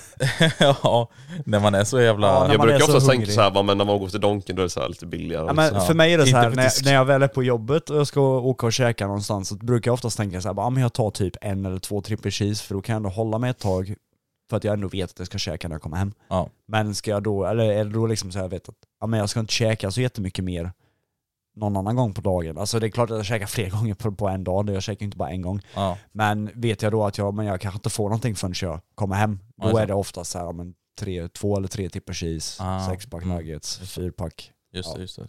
ja, när man är så jävla...
Ja, när
Jag
man är
brukar
så
ofta tänka
hungrig.
så här, va, men när man går till Donken då är det så här lite billigare.
Ja, men
liksom.
För mig är det så
Inte
här,
på
när,
disk.
när jag väl är på jobbet och jag ska åka och käka någonstans så brukar jag oftast tänka så här, bara, ja, men jag tar typ en eller två triple cheese för då kan jag ändå hålla mig ett tag för att jag ändå vet att jag ska käka när jag kommer hem.
Ja.
Men ska jag då, eller är det då liksom så här, jag vet att ja, men jag ska inte käka så jättemycket mer någon annan gång på dagen. Alltså det är klart att jag käkar fler gånger på, på en dag, jag käkar inte bara en gång.
Ja.
Men vet jag då att jag, men jag kanske inte får någonting förrän jag kommer hem, då
Ja, det är
är det oftast så här, ja, men tre, två eller tre triple cheese,
Ah.
sex pack
Mm.
nuggets, fyra pack.
Just det,
Ja.
just det.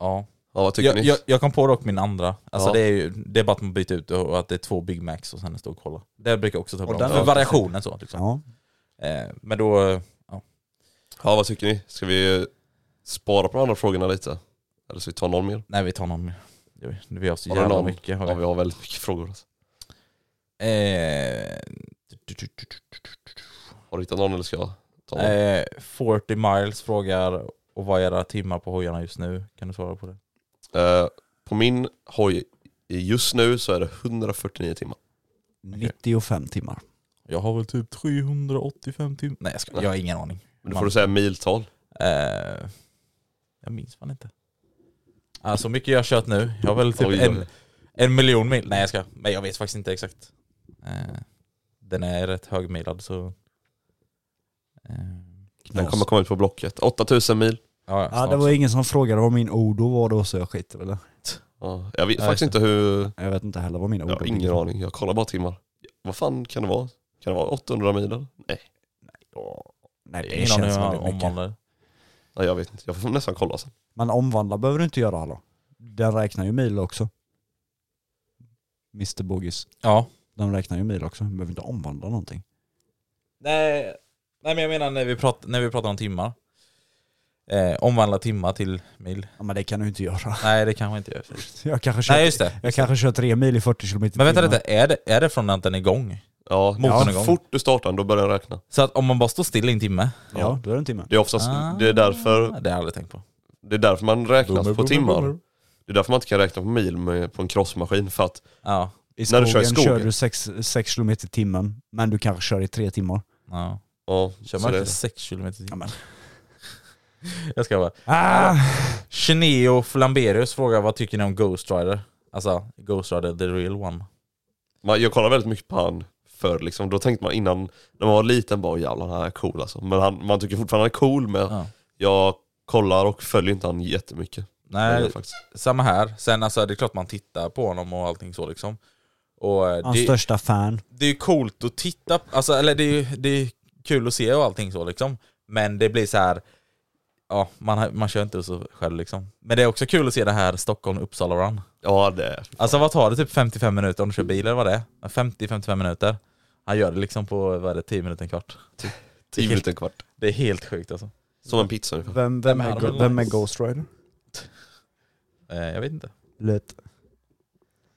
Ja.
Ja, vad tycker
Jag,
ni?
jag, jag kom på dock min andra. Alltså
Ja.
det, är ju, det är bara att man byter ut och att det är två Big Macs och sen en stor cola. Det brukar jag också ta
Och
bra.
den
För
är-
variationen så. Liksom.
Ja.
Eh, men då,
Ja, vad tycker ni? Ska vi eh, spara på de andra frågorna lite? Eller ska vi ta någon mer?
nej vi tar någon mer. Gör Vi vi har så
Har du
jävla
någon?
mycket. Har
Ja,
vi.
vi har väldigt mycket frågor. Alltså.
Eh,
Har du hittat någon eller ska jag ta någon?
eh, 40 miles frågar, och vad är era timmar på hojarna just nu? Kan du svara på det?
Eh, på min hoj i- just nu så är det 149 timmar.
95 timmar.
Jag har väl typ 385 timmar. Nej jag, ska, jag har ingen aning.
Men då får du säga miltal.
Eh, jag minns fan inte. Ah, så mycket jag har kört nu. Jag har väl typ
Oj, oj,
en,
oj.
en miljon mil. Nej jag ska. Men jag vet faktiskt inte exakt. Eh, den är rätt högmilad så... Eh,
Den kommer komma ut på Blocket. 8000 mil.
ja, ja,
Ja,
snart
det var
så.
ingen som frågade vad min Odo var då så jag skiter väl i det.
Ja, jag vet
Ja,
faktiskt
just
inte hur...
Jag vet inte heller vad min Odo
Jag har ingen aning. Jag kollar bara timmar. Vad fan kan det vara? Kan det vara 800 mil? eller? Nej.
Nej det
Ingen aning
känns
om
väldigt
om
mycket.
man
Nej, jag vet inte, jag får nästan kolla sen.
Men omvandla behöver du inte göra hallå. Den räknar ju mil också. Mr Bogis.
Ja.
Den räknar ju mil också. Du behöver inte omvandla någonting.
Nej, nej men jag menar när vi, prat, när vi pratar om timmar. Eh, omvandla timmar till mil.
Ja, men det kan du inte göra.
Nej det kanske man inte gör.
Jag kanske kör,
Nej just det.
jag kanske kör tre mil i 40 km
Men vänta lite, är det, är det från att den är igång?
Ja,
Motorn
så
igång.
fort du startar den, då börjar den räkna.
Så att om man bara står still i en timme?
Ja, då är det en timme.
Det är oftast, det är därför
Ja, Det har jag aldrig tänkt på.
Det är därför man räknas
Boomer,
på
boomer,
timmar.
boomer.
Det är därför man inte kan räkna på mil med, på en crossmaskin för att
Ja.
I
när du kör i
skogen
skogen.
kör du 6 km i timmen, men du kanske kör i tre timmar.
ja.
ja,
Kör
så
man
det-
inte 6 km i
Ja,
timmen?
men.
Jag ska bara.
Ah!
Cheneo Flamberius frågar vad tycker ni om Ghost Rider? Alltså Ghost Rider the real one.
man, jag kollar väldigt mycket på han förr liksom. Då tänkte man innan, när man var liten bara "Åh, jävlar han är cool alltså. Men han, man tycker fortfarande han är cool men
Ja.
jag kollar och följer inte han jättemycket. Det gör
Nej,
jag faktiskt.
samma här. Sen alltså det är klart man tittar på honom och allting så liksom. Och eh,
Hans
det,
största fan.
det är ju coolt att titta, alltså, eller det är ju det är kul att se och allting så liksom. Men det blir så här. ja man, har- man kör inte så själv liksom. Men det är också kul att se det här Stockholm-Uppsala run.
Ja det är
Alltså vad tar det, typ 55 minuter om du kör bil eller vad det är? 50-55 minuter. Han gör det liksom på, vad är det, 10 minuter, en kvart.
tio minuter kvart.
Det är helt sjukt alltså.
Som en pizza ungefär.
Vem, vem,
men han
är,
har
Go-
väl
vem är
nice.
Ghost Rider?
Eh, jag vet inte.
Lätt.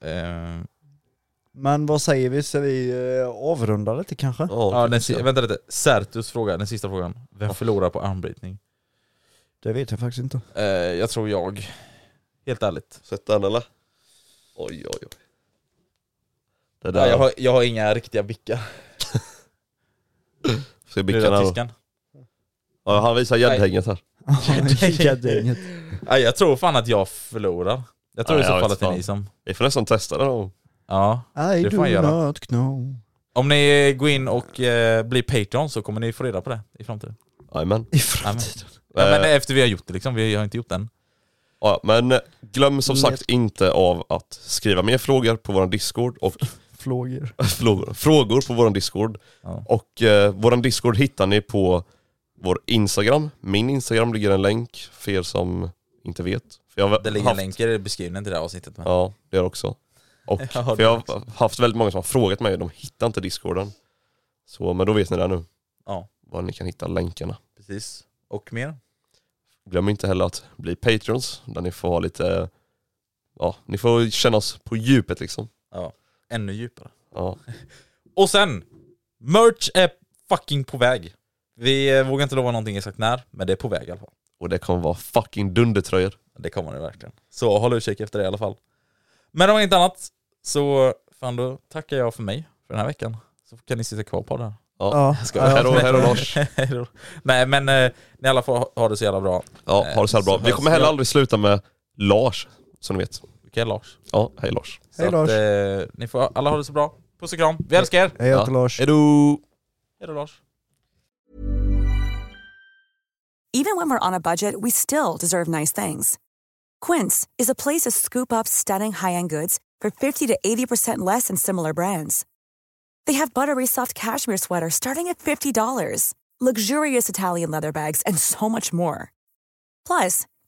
Eh,
Men vad säger vi? Ska vi eh, avrunda lite kanske?
ja,
Ja,
den, si- vänta lite, Sertus fråga, den sista frågan. Vem förlorar på armbrytning?
Det vet jag faktiskt inte.
Eh, jag tror jag. Helt ärligt.
Sätt den eller? Oj oj oj. Det
Ja,
där,
jag, har, jag har inga riktiga bickar.
ska bicka den
Lilla
här då.
tyskan.
ja, han visar gäddhänget här.
Gäddhänget.
Nej, jag tror fan att jag förlorar. Jag tror
Ja,
i så
jag
fall
vet
att det är
fan.
ni som...
Vi får nästan testa den då.
Ja.
I
Det får
do
han göra.
not know.
Om ni går in och eh, blir Patreon så kommer ni få reda på det i framtiden.
Jajamän.
I
Ja, men,
framtiden.
ja, men
Eh,
efter vi har gjort det liksom, vi har inte gjort det än.
Ja, men eh, glöm som sagt
Lätt.
inte av att skriva mer frågor på vår Discord och
Frågor.
frågor, frågor på vår Discord.
Ja.
Och eh, vår Discord hittar ni på vår Instagram. Min Instagram ligger en länk för er som inte vet. För jag har
Det ligger
haft,
länkar i beskrivningen till det här avsnittet. Men.
Ja, det gör också. Och
Ja,
för
det
jag
också.
har haft väldigt många som har frågat mig, de hittar inte Discorden. Så, men då vet ni det nu.
Ja.
Var ni kan hitta länkarna.
Precis. Och mer?
Glöm inte heller att bli Patreons, där ni får ha lite, ja, ni får känna oss på djupet liksom.
Ja. Ännu djupare.
Ja.
Och sen! Merch är fucking på väg. Vi eh, vågar inte lova någonting exakt när, men det är på väg i alla fall.
Och det kommer vara fucking dundertröjor.
Det kommer det verkligen. Så håll utkik efter det i alla fall. Men om inte annat så fan då tackar jag för mig för den här veckan. Så kan ni sitta kvar på det här.
Ja.
Jag skojar.
Ja, hej då, hej då Lars.
Hej då. Nej men eh, ni alla får ha- ha det så jävla bra. Eh,
Ja, ha det så här bra. Vi
Så hörs
kommer heller
vi.
aldrig sluta med Lars, som ni vet.
Okej Lars.
Ja, hej Lars.
Så
Hej,
att,
Lars.
eh, ni får alla ha det så bra. Puss och kram. Vi älskar er.
Hej, jag heter
Ja.
Lars.
Hejdå!
Hej då Lars.
Even when we're on a budget, we still deserve nice things. Quince is a place to scoop up stunning high end goods for 50 to 80% less than similar brands. They have buttery soft cashmere sweaters starting at $50, luxurious Italian leather bags, and so much more. Plus,